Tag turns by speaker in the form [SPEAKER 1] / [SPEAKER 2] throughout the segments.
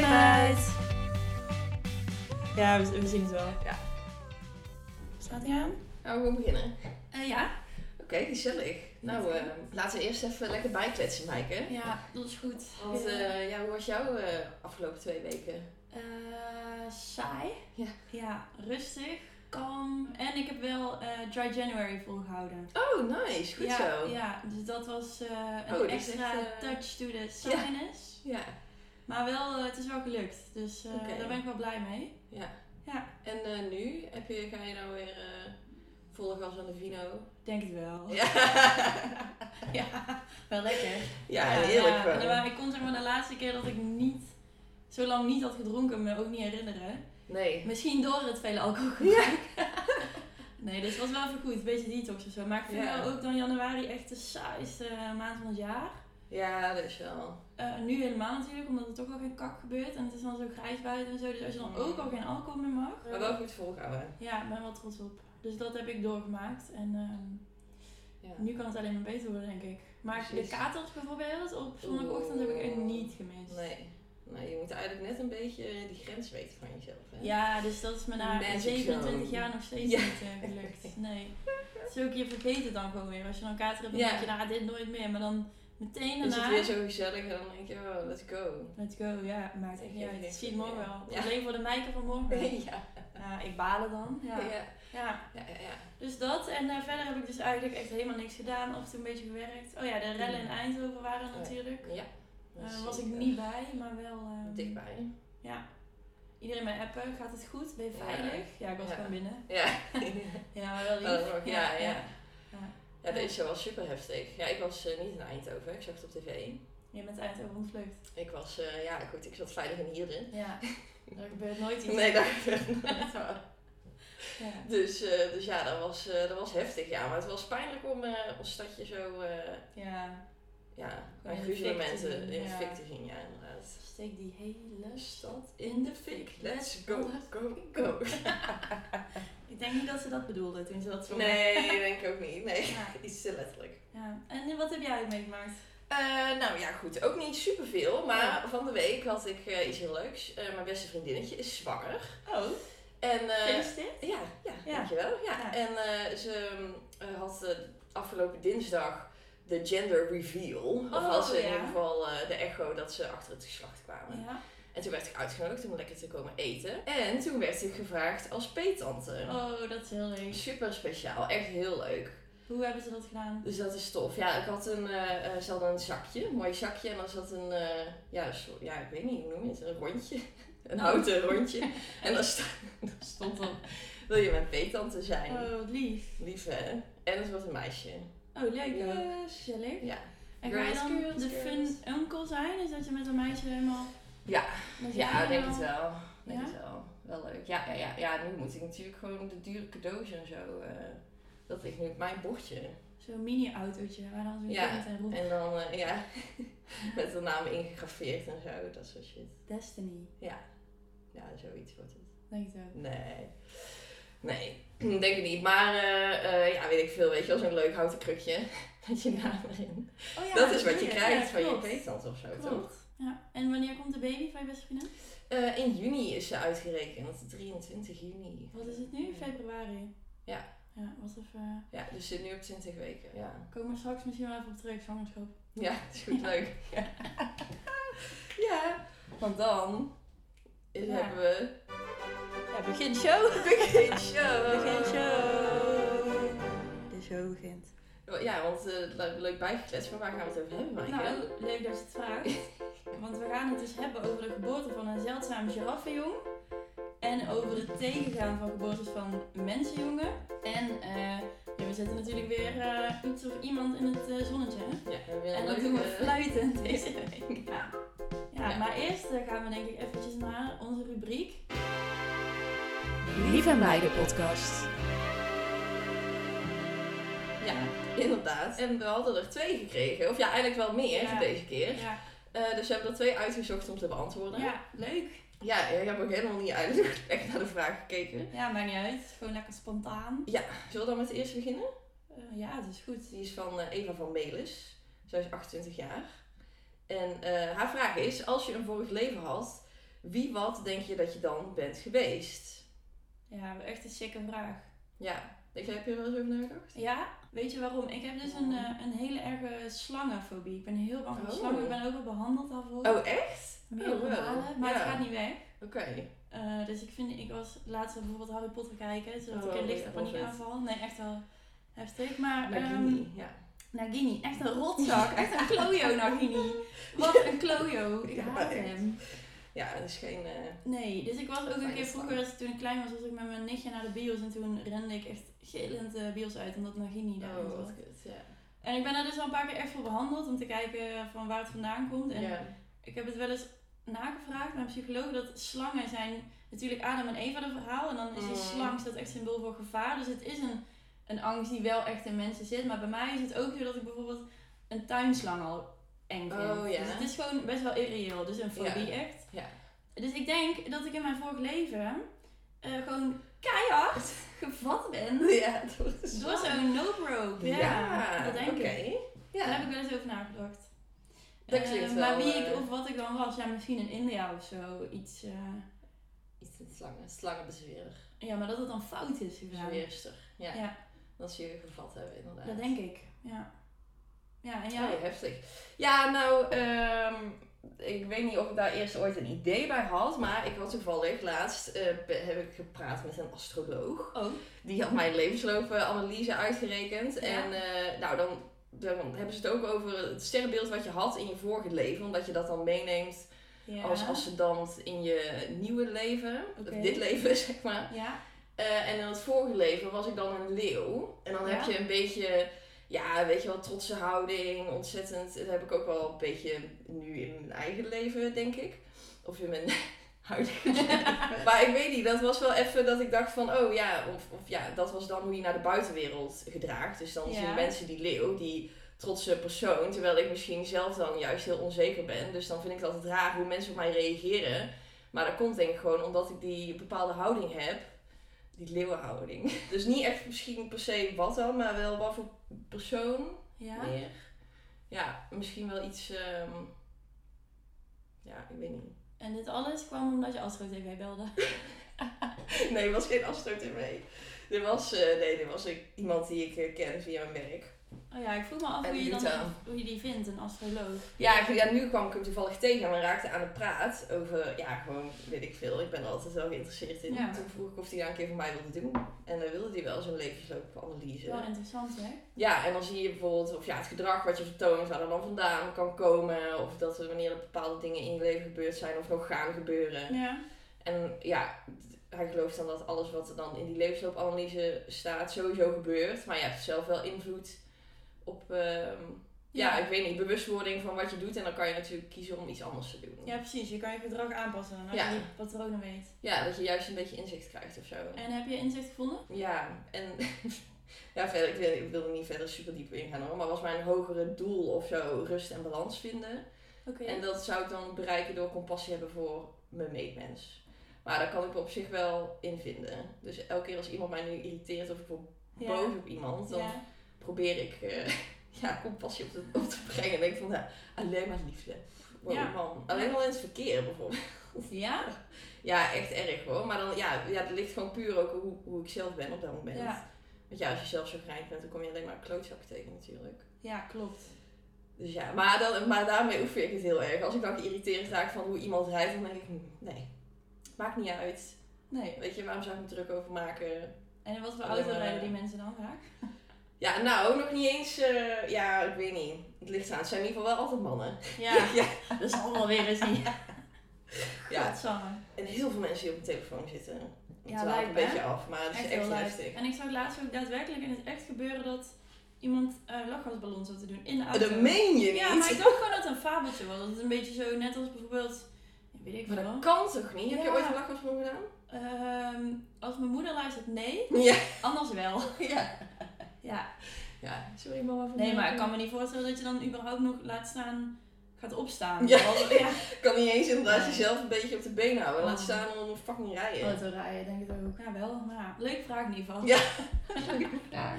[SPEAKER 1] uit.
[SPEAKER 2] Ja, we, we zien het wel.
[SPEAKER 1] Staat hij aan?
[SPEAKER 3] Nou, we gaan beginnen.
[SPEAKER 1] Eh, ja.
[SPEAKER 3] Oké, gezellig. Nou, eh, laten we eerst even lekker bijkletsen, Maaike.
[SPEAKER 1] Ja, dat is goed. Dus,
[SPEAKER 3] Want eh, ja, hoe was jouw eh, afgelopen twee weken?
[SPEAKER 1] Eh, saai.
[SPEAKER 3] Ja.
[SPEAKER 1] Ja, rustig, kalm. En ik heb wel eh, Dry January volgehouden.
[SPEAKER 3] Oh, nice. Goed
[SPEAKER 1] ja,
[SPEAKER 3] zo.
[SPEAKER 1] Ja, dus dat was eh, een
[SPEAKER 3] Oh, dat is
[SPEAKER 1] extra
[SPEAKER 3] echt, eh,
[SPEAKER 1] touch to the sinus.
[SPEAKER 3] Ja.
[SPEAKER 1] Maar wel, eh, het is wel gelukt. Dus eh,
[SPEAKER 3] Oké.
[SPEAKER 1] daar ben ik wel blij mee.
[SPEAKER 3] ja.
[SPEAKER 1] Ja.
[SPEAKER 3] En eh, nu? Heb je, ga je nou weer eh volle gas aan de vino?
[SPEAKER 1] Ik Denk het wel.
[SPEAKER 3] Ja.
[SPEAKER 1] Ja, wel lekker.
[SPEAKER 3] ja, heerlijk
[SPEAKER 1] ja.
[SPEAKER 3] wel.
[SPEAKER 1] En dan- Ik kon zeg maar de laatste keer dat ik niet, zo lang niet had gedronken, me ook niet herinneren.
[SPEAKER 3] Nee.
[SPEAKER 1] Misschien door het vele alcoholgebruik. nee, dus het was wel even goed. Een beetje detox of zo. Maar ik vind
[SPEAKER 3] Ja.
[SPEAKER 1] wel ook dan januari echt de saaiste eh, maand van het jaar.
[SPEAKER 3] Ja, dat is wel.
[SPEAKER 1] Eh, nu helemaal natuurlijk, omdat er toch al geen kak gebeurt. En het is dan zo grijs buiten en zo. Dus als je dan ook al geen alcohol meer mag.
[SPEAKER 3] Mm. Maar wel goed volgehouden.
[SPEAKER 1] Ja, ik ben wel trots op. Dus dat heb ik doorgemaakt. En ehm,
[SPEAKER 3] Ja.
[SPEAKER 1] nu kan het alleen maar beter worden, denk ik. Maar
[SPEAKER 3] Precies.
[SPEAKER 1] de katers bijvoorbeeld, op zondagochtend heb ik er niet gemist.
[SPEAKER 3] Nee. Nou, je moet eigenlijk net een beetje die grens weten van jezelf, hè?
[SPEAKER 1] Ja, dus dat is me na
[SPEAKER 3] Magic
[SPEAKER 1] 27
[SPEAKER 3] zone.
[SPEAKER 1] jaar nog steeds
[SPEAKER 3] Ja.
[SPEAKER 1] niet eh, gelukt. Nee. Zo ook je vergeet het dan gewoon weer. Als je dan kater hebt, dan
[SPEAKER 3] Ja.
[SPEAKER 1] denk je, nou, dit nooit meer. Maar dan meteen
[SPEAKER 3] Is
[SPEAKER 1] daarna...
[SPEAKER 3] het weer zo gezellig en dan denk je, oh, let's go.
[SPEAKER 1] Let's go, ja, maakt echt
[SPEAKER 3] Ik
[SPEAKER 1] niet
[SPEAKER 3] heb
[SPEAKER 1] uit.
[SPEAKER 3] niks
[SPEAKER 1] Zie je
[SPEAKER 3] meer.
[SPEAKER 1] morgen wel.
[SPEAKER 3] Ja.
[SPEAKER 1] Alleen voor de mijken van morgen.
[SPEAKER 3] ja.
[SPEAKER 1] Ja, ik balen dan.
[SPEAKER 3] Ja.
[SPEAKER 1] Ja.
[SPEAKER 3] Ja,
[SPEAKER 1] ja.
[SPEAKER 3] ja, ja.
[SPEAKER 1] Dus dat. En eh, verder heb ik dus eigenlijk echt helemaal niks gedaan. Of een beetje gewerkt. Oh ja, de rellen in Eindhoven waren
[SPEAKER 3] Mm. Ja.
[SPEAKER 1] natuurlijk.
[SPEAKER 3] Ja.
[SPEAKER 1] Daar
[SPEAKER 3] Dat is
[SPEAKER 1] Eh, was ik
[SPEAKER 3] zeker.
[SPEAKER 1] niet bij, maar wel... ehm,
[SPEAKER 3] Dichtbij.
[SPEAKER 1] Ja. Iedereen mij appen. Gaat het goed? Ben je
[SPEAKER 3] Ja.
[SPEAKER 1] veilig? Ja, ik was
[SPEAKER 3] Ja.
[SPEAKER 1] gewoon binnen.
[SPEAKER 3] Ja.
[SPEAKER 1] Ja, maar wel lief.
[SPEAKER 3] Oh, ja, ja.
[SPEAKER 1] ja.
[SPEAKER 3] ja, dat is wel super heftig. Ja, ik was eh, niet in Eindhoven, ik zag het op tv.
[SPEAKER 1] Je bent Eindhoven ontvlucht.
[SPEAKER 3] Ik was, eh, ja goed, ik zat veilig in Hierin.
[SPEAKER 1] Ja. Daar gebeurt nooit iets.
[SPEAKER 3] Nee, daar
[SPEAKER 1] Ja.
[SPEAKER 3] dus, eh, dus ja, dat was, eh, dat was heftig, ja. Maar het was pijnlijk om eh, ons stadje zo eh
[SPEAKER 1] ja.
[SPEAKER 3] ja,
[SPEAKER 1] Gewoon in de
[SPEAKER 3] aan
[SPEAKER 1] fik te
[SPEAKER 3] gruzelementen
[SPEAKER 1] zien,
[SPEAKER 3] in de
[SPEAKER 1] ja.
[SPEAKER 3] fik te zien, ja inderdaad.
[SPEAKER 1] Steek die hele stad
[SPEAKER 3] In de fik, let's go, go, go.
[SPEAKER 1] Ik denk niet dat ze dat bedoelde toen ze dat zo
[SPEAKER 3] Nee, denk ik ook niet. Nee,
[SPEAKER 1] Ja.
[SPEAKER 3] iets te letterlijk.
[SPEAKER 1] Ja. En wat heb jij meegemaakt?
[SPEAKER 3] Eh, nou ja, goed. Ook niet superveel. Maar
[SPEAKER 1] Ja.
[SPEAKER 3] van de week had ik eh, iets heel leuks. Eh, mijn beste vriendinnetje is zwanger.
[SPEAKER 1] Oh,
[SPEAKER 3] En, eh,
[SPEAKER 1] gefeliciteerd.
[SPEAKER 3] ja, ja,
[SPEAKER 1] Ja.
[SPEAKER 3] dankjewel. Ja.
[SPEAKER 1] Ja.
[SPEAKER 3] En eh, ze mm, had eh, afgelopen dinsdag de gender reveal. of
[SPEAKER 1] Oh,
[SPEAKER 3] was in
[SPEAKER 1] ja.
[SPEAKER 3] ieder geval eh, de echo dat ze achter het geslacht kwamen.
[SPEAKER 1] Ja.
[SPEAKER 3] En toen werd ik uitgenodigd om lekker te komen eten. En toen werd ik gevraagd als peetante.
[SPEAKER 1] Oh, dat is heel leuk.
[SPEAKER 3] Super speciaal. Echt heel leuk.
[SPEAKER 1] Hoe hebben ze dat gedaan?
[SPEAKER 3] Dus dat is tof. Ja, ik had een, eh, eh, ze hadden een zakje, een mooi zakje. En dan zat een, eh, ja, een soort- ja, ik weet niet hoe noem je het, een rondje. Een houten rondje. En dan sta-
[SPEAKER 1] Stond op.
[SPEAKER 3] wil je mijn peetante zijn.
[SPEAKER 1] Oh, wat lief.
[SPEAKER 3] Lief hè? En het was een meisje.
[SPEAKER 1] Oh, leuk ook.
[SPEAKER 3] Yes.
[SPEAKER 1] Gezellig.
[SPEAKER 3] Ja.
[SPEAKER 1] En ga je
[SPEAKER 3] Girls,
[SPEAKER 1] dan
[SPEAKER 3] girls,
[SPEAKER 1] de
[SPEAKER 3] girls.
[SPEAKER 1] fun uncle zijn? Dus dat je met een meisje helemaal...
[SPEAKER 3] Ja.
[SPEAKER 1] dat jij
[SPEAKER 3] Ja, ik denk het
[SPEAKER 1] helemaal-
[SPEAKER 3] wel. Denk
[SPEAKER 1] Ja?
[SPEAKER 3] het wel. Wel leuk. Ja, ja, ja, ja, nu moet ik natuurlijk gewoon de dure cadeaus en zo. eh, dat ligt nu op mijn bordje.
[SPEAKER 1] Zo'n mini-autootje waar dan zo'n
[SPEAKER 3] Ja.
[SPEAKER 1] kind en roep.
[SPEAKER 3] En dan, eh, ja, met de naam ingegraveerd en zo. Dat soort shit.
[SPEAKER 1] Destiny,
[SPEAKER 3] Ja. Ja, zoiets wordt het.
[SPEAKER 1] denk ik ook.
[SPEAKER 3] Nee. Nee, denk ik niet. Maar eh, eh, ja, weet ik veel. Weet je wel, zo'n leuk houten krukje met je naam erin.
[SPEAKER 1] Oh ja,
[SPEAKER 3] dat is wat je
[SPEAKER 1] doe
[SPEAKER 3] krijgt
[SPEAKER 1] Ja,
[SPEAKER 3] van je
[SPEAKER 1] klopt.
[SPEAKER 3] peetand of zo, toch?
[SPEAKER 1] Klopt. Ja. En wanneer komt de baby van je beste vriendin?
[SPEAKER 3] Eh, in juni is ze uitgerekend. 23 juni.
[SPEAKER 1] Wat is het nu? Februari?
[SPEAKER 3] Ja.
[SPEAKER 1] Ja, was even...
[SPEAKER 3] Ja, dus zit nu op 20 weken. Ja,
[SPEAKER 1] Komen we straks misschien wel even op terug, zwangerschap.
[SPEAKER 3] ja het is goed leuk. Ja. ja, want dan is-
[SPEAKER 1] Ja.
[SPEAKER 3] hebben we...
[SPEAKER 1] Ja, begin show!
[SPEAKER 3] Begin show!
[SPEAKER 1] Begin show! De show begint.
[SPEAKER 3] Ja, want eh, le- leuk bijgekletst, maar waar gaan we het over hebben, Maaike?
[SPEAKER 1] Nou, leuk dat je het vraagt. Want we gaan het dus hebben over de geboorte van een zeldzaam giraffenjong. En over het tegengaan van geboortes van mensenjongen. En eh, ja, we zetten natuurlijk weer eh, iets of iemand in het eh, zonnetje. hè?
[SPEAKER 3] Ja, eh. we hebben
[SPEAKER 1] En
[SPEAKER 3] een
[SPEAKER 1] dat doen we
[SPEAKER 3] leuke-
[SPEAKER 1] fluitend deze week. Ja. Ja,
[SPEAKER 3] Ja.
[SPEAKER 1] maar eerst eh, gaan we denk ik eventjes naar onze rubriek.
[SPEAKER 2] Lief en meiden podcast.
[SPEAKER 3] Ja, inderdaad. En we hadden er twee gekregen. Of ja, eigenlijk wel meer
[SPEAKER 1] Ja.
[SPEAKER 3] deze keer.
[SPEAKER 1] Ja,
[SPEAKER 3] Eh, dus we hebben er twee uitgezocht om te beantwoorden.
[SPEAKER 1] ja leuk.
[SPEAKER 3] Ja, ik heb ook helemaal niet eigenlijk echt naar de vraag gekeken.
[SPEAKER 1] Ja, maakt niet uit. Gewoon lekker spontaan.
[SPEAKER 3] Zullen we dan met de eerste beginnen?
[SPEAKER 1] Eh, ja, het is goed.
[SPEAKER 3] Die is van eh, Eva van Melis. Zij is 28 jaar. En eh, haar vraag is, als je een vorig leven had, Wie wat denk je dat je dan bent geweest?
[SPEAKER 1] Ja, echt een sikke vraag.
[SPEAKER 3] Ja, ik heb je er wel eens over nagedacht?
[SPEAKER 1] Ja, weet je waarom? Ik heb dus een, eh, een hele erge slangenfobie. Ik ben heel bang voor
[SPEAKER 3] Oh.
[SPEAKER 1] slangen. Ik ben ook al behandeld daarvoor.
[SPEAKER 3] Oh, echt?
[SPEAKER 1] Meerdere
[SPEAKER 3] oh, wow.
[SPEAKER 1] malen, maar het
[SPEAKER 3] Ja.
[SPEAKER 1] gaat niet weg.
[SPEAKER 3] Oké.
[SPEAKER 1] Eh, dus ik vind, ik was laatst bijvoorbeeld Harry Potter kijken, zodat
[SPEAKER 3] Oh,
[SPEAKER 1] ik een lichte
[SPEAKER 3] ja, wel vet.
[SPEAKER 1] paniekaanval. Nee, echt wel heftig. Maar ehm,
[SPEAKER 3] Nagini, ja.
[SPEAKER 1] Nagini, echt een rotzak. echt een klojo Nagini. Wat een klojo. Ik
[SPEAKER 3] Ja,
[SPEAKER 1] haat
[SPEAKER 3] echt.
[SPEAKER 1] hem.
[SPEAKER 3] Ja, dat is geen... eh,
[SPEAKER 1] Nee, dus ik was ook een
[SPEAKER 3] Fijne
[SPEAKER 1] keer
[SPEAKER 3] slang.
[SPEAKER 1] vroeger, toen ik klein was, was ik met mijn nichtje naar de bios. En toen rende ik echt gillend de bios uit, omdat Nagini daar
[SPEAKER 3] oh,
[SPEAKER 1] zat.
[SPEAKER 3] wat kut, ja.
[SPEAKER 1] En ik ben daar dus al een paar keer echt voor behandeld, om te kijken van waar het vandaan komt. En
[SPEAKER 3] Ja.
[SPEAKER 1] ik heb het wel eens nagevraagd naar een psycholoog dat slangen zijn natuurlijk Adam en Eva het verhaal. En dan is die
[SPEAKER 3] Mm.
[SPEAKER 1] slang staat echt symbool voor gevaar. Dus het is een, een angst die wel echt in mensen zit. Maar bij mij is het ook zo dat ik bijvoorbeeld een tuinslang al eng vind.
[SPEAKER 3] Oh, ja.
[SPEAKER 1] Dus het is gewoon best wel irreëel. Dus een fobie echt.
[SPEAKER 3] Ja.
[SPEAKER 1] Dus ik denk dat ik in mijn vorig leven eh, gewoon keihard gevat ben
[SPEAKER 3] Ja, door de
[SPEAKER 1] door
[SPEAKER 3] zon.
[SPEAKER 1] zo'n nope rope. Ja, dat denk
[SPEAKER 3] oké.
[SPEAKER 1] ik. Daar
[SPEAKER 3] Ja.
[SPEAKER 1] heb ik wel eens over nagedacht.
[SPEAKER 3] Dat
[SPEAKER 1] Eh,
[SPEAKER 3] klinkt
[SPEAKER 1] maar
[SPEAKER 3] wel,
[SPEAKER 1] wie
[SPEAKER 3] eh,
[SPEAKER 1] ik of wat ik dan was, ja, misschien in India of zo. Iets, eh,
[SPEAKER 3] Iets met slangen. Slangenbezweerder.
[SPEAKER 1] ja, maar dat het dan fout is gedaan.
[SPEAKER 3] Bezweerster. Ja.
[SPEAKER 1] Ja,
[SPEAKER 3] Dat ze je gevat hebben, inderdaad.
[SPEAKER 1] dat denk ik. Ja, ja en
[SPEAKER 3] Ja,
[SPEAKER 1] jij?
[SPEAKER 3] heftig. Ja, nou, ehm, ik weet niet of ik daar eerst ooit een idee bij had, maar ik had toevallig laatst eh, be- heb ik gepraat met een astroloog.
[SPEAKER 1] Oh,
[SPEAKER 3] Die had mijn levensloopanalyse uitgerekend.
[SPEAKER 1] Ja.
[SPEAKER 3] En eh, nou, dan, dan hebben ze het ook over het sterrenbeeld wat je had in je vorige leven, omdat je dat dan meeneemt
[SPEAKER 1] ja.
[SPEAKER 3] als ascendant in je nieuwe leven,
[SPEAKER 1] Oké.
[SPEAKER 3] of dit leven zeg maar.
[SPEAKER 1] Ja,
[SPEAKER 3] Eh, en in het vorige leven was ik dan een leeuw. En dan heb
[SPEAKER 1] Ja.
[SPEAKER 3] je een beetje, ja, weet je wel, trotse houding, ontzettend. Dat heb ik ook wel een beetje nu in mijn eigen leven, denk ik. Of in mijn huidige leven. Maar ik weet niet, dat was wel even dat ik dacht van, oh ja, of, of ja, dat was dan hoe je naar de buitenwereld gedraagt. Dus dan
[SPEAKER 1] Ja.
[SPEAKER 3] zien mensen die leeuw, die trotse persoon, terwijl ik misschien zelf dan juist heel onzeker ben. Dus dan vind ik het altijd raar hoe mensen op mij reageren. Maar dat komt denk ik gewoon omdat ik die bepaalde houding heb. Die leeuwenhouding. Dus niet echt misschien per se wat dan, maar wel wat voor persoon
[SPEAKER 1] ja.
[SPEAKER 3] meer. Ja, misschien wel iets... ehm, Ja, ik weet niet.
[SPEAKER 1] En dit alles kwam omdat je Astro TV belde.
[SPEAKER 3] Nee, het was geen Astro TV. Dit was, eh, nee, dit was ik- iemand die ik eh, ken via mijn werk.
[SPEAKER 1] Oh ja, ik vroeg me af
[SPEAKER 3] En
[SPEAKER 1] hoe je, dan,
[SPEAKER 3] Utah.
[SPEAKER 1] hoe je die vindt, een astroloog.
[SPEAKER 3] Ja, ik- ja, nu kwam ik hem toevallig tegen en we raakten aan de praat over, ja, gewoon, weet ik veel. Ik ben er altijd wel geïnteresseerd in.
[SPEAKER 1] Ja.
[SPEAKER 3] Toen vroeg ik of hij daar een keer voor mij wilde doen. En dan wilde hij wel zo'n levensloopanalyse.
[SPEAKER 1] Wel interessant, hè?
[SPEAKER 3] Ja, en dan zie je bijvoorbeeld of ja, het gedrag wat je vertoont, waar dat dan vandaan kan komen. Of dat er wanneer er bepaalde dingen in je leven gebeurd zijn of nog gaan gebeuren.
[SPEAKER 1] Ja.
[SPEAKER 3] En ja, d- hij gelooft dan dat alles wat er dan in die levensloopanalyse staat sowieso gebeurt. Maar je hebt zelf wel invloed op, ehm, ja. ik weet niet, bewustwording van wat je doet. En dan kan je natuurlijk kiezen om iets anders te doen.
[SPEAKER 1] Ja, precies. Je kan je gedrag aanpassen als
[SPEAKER 3] Ja.
[SPEAKER 1] je die patronen weet.
[SPEAKER 3] Ja, dat je juist een beetje inzicht krijgt of zo.
[SPEAKER 1] En heb je inzicht gevonden?
[SPEAKER 3] Ja, en ja, verder, ik, wil, ik wil er niet verder super diep op ingaan hoor. Maar was mijn hogere doel of zo rust en balans vinden.
[SPEAKER 1] Oké.
[SPEAKER 3] En dat zou ik dan bereiken door compassie hebben voor mijn meetmens. Maar daar kan ik me op zich wel in vinden. Dus elke keer als iemand mij nu irriteert of ik word
[SPEAKER 1] Ja.
[SPEAKER 3] boos op iemand, dan
[SPEAKER 1] Ja.
[SPEAKER 3] probeer ik eh, ja, compassie op te, op te brengen. En denk van, nou, alleen maar liefde. Wow,
[SPEAKER 1] Ja.
[SPEAKER 3] man. Alleen al in het verkeer bijvoorbeeld.
[SPEAKER 1] Ja?
[SPEAKER 3] Ja, echt erg hoor. Maar dan, ja, ja dat ligt gewoon puur ook hoe, hoe ik zelf ben op dat moment.
[SPEAKER 1] Ja.
[SPEAKER 3] Want ja, als je zelf zo grijnig bent, dan kom je alleen maar klootzakken tegen natuurlijk.
[SPEAKER 1] Ja, klopt.
[SPEAKER 3] Dus ja, maar, dan, maar daarmee oefen ik het heel erg. Als ik dan geïrriteerd raak van hoe iemand rijdt, dan denk ik, "Hm, nee, maakt niet uit.
[SPEAKER 1] Nee.
[SPEAKER 3] Weet je, waarom zou ik me druk over maken?
[SPEAKER 1] En in wat voor
[SPEAKER 3] Ja,
[SPEAKER 1] auto
[SPEAKER 3] maar-
[SPEAKER 1] rijden die mensen dan vaak?
[SPEAKER 3] Ja, nou, nog niet eens, eh, ja, ik weet niet. Het ligt aan, het zijn in ieder geval wel altijd mannen.
[SPEAKER 1] Ja, dat is allemaal weer eens niet.
[SPEAKER 3] Ja,
[SPEAKER 1] Godsamme.
[SPEAKER 3] en heel veel mensen die op hun telefoon zitten.
[SPEAKER 1] Ja,
[SPEAKER 3] Ja, het
[SPEAKER 1] lijp,
[SPEAKER 3] een beetje
[SPEAKER 1] hè?
[SPEAKER 3] af, maar het is echt,
[SPEAKER 1] heel lijp.
[SPEAKER 3] heftig.
[SPEAKER 1] En ik zag laatst ook daadwerkelijk in het echt gebeuren dat iemand eh lachgasballon zat te doen in de
[SPEAKER 3] Oh,
[SPEAKER 1] auto.
[SPEAKER 3] Dat meen je niet?
[SPEAKER 1] ja, maar ik dacht gewoon dat het een fabeltje was. Dat het een beetje zo net als bijvoorbeeld, ja, weet ik
[SPEAKER 3] Maar
[SPEAKER 1] veel.
[SPEAKER 3] dat kan toch niet? Heb je
[SPEAKER 1] Ja.
[SPEAKER 3] ooit een lachgasballon gedaan?
[SPEAKER 1] Ehm, als mijn moeder luistert, nee.
[SPEAKER 3] Ja.
[SPEAKER 1] Anders wel.
[SPEAKER 3] ja.
[SPEAKER 1] Ja.
[SPEAKER 3] ja. Sorry mama. voor
[SPEAKER 1] Nee,
[SPEAKER 3] mijn-
[SPEAKER 1] maar ik kan me niet voorstellen dat je dan überhaupt nog laat staan gaat opstaan.
[SPEAKER 3] Ja.
[SPEAKER 1] Als- ja.
[SPEAKER 3] Ik kan niet eens inderdaad
[SPEAKER 1] Nee.
[SPEAKER 3] jezelf een beetje op de been houden. Laat
[SPEAKER 1] Oh.
[SPEAKER 3] staan om fucking rijden.
[SPEAKER 1] Auto rijden, denk ik ook. Ja, wel. Maar ja, leuke vraag in ieder geval.
[SPEAKER 3] Ja.
[SPEAKER 4] Ja.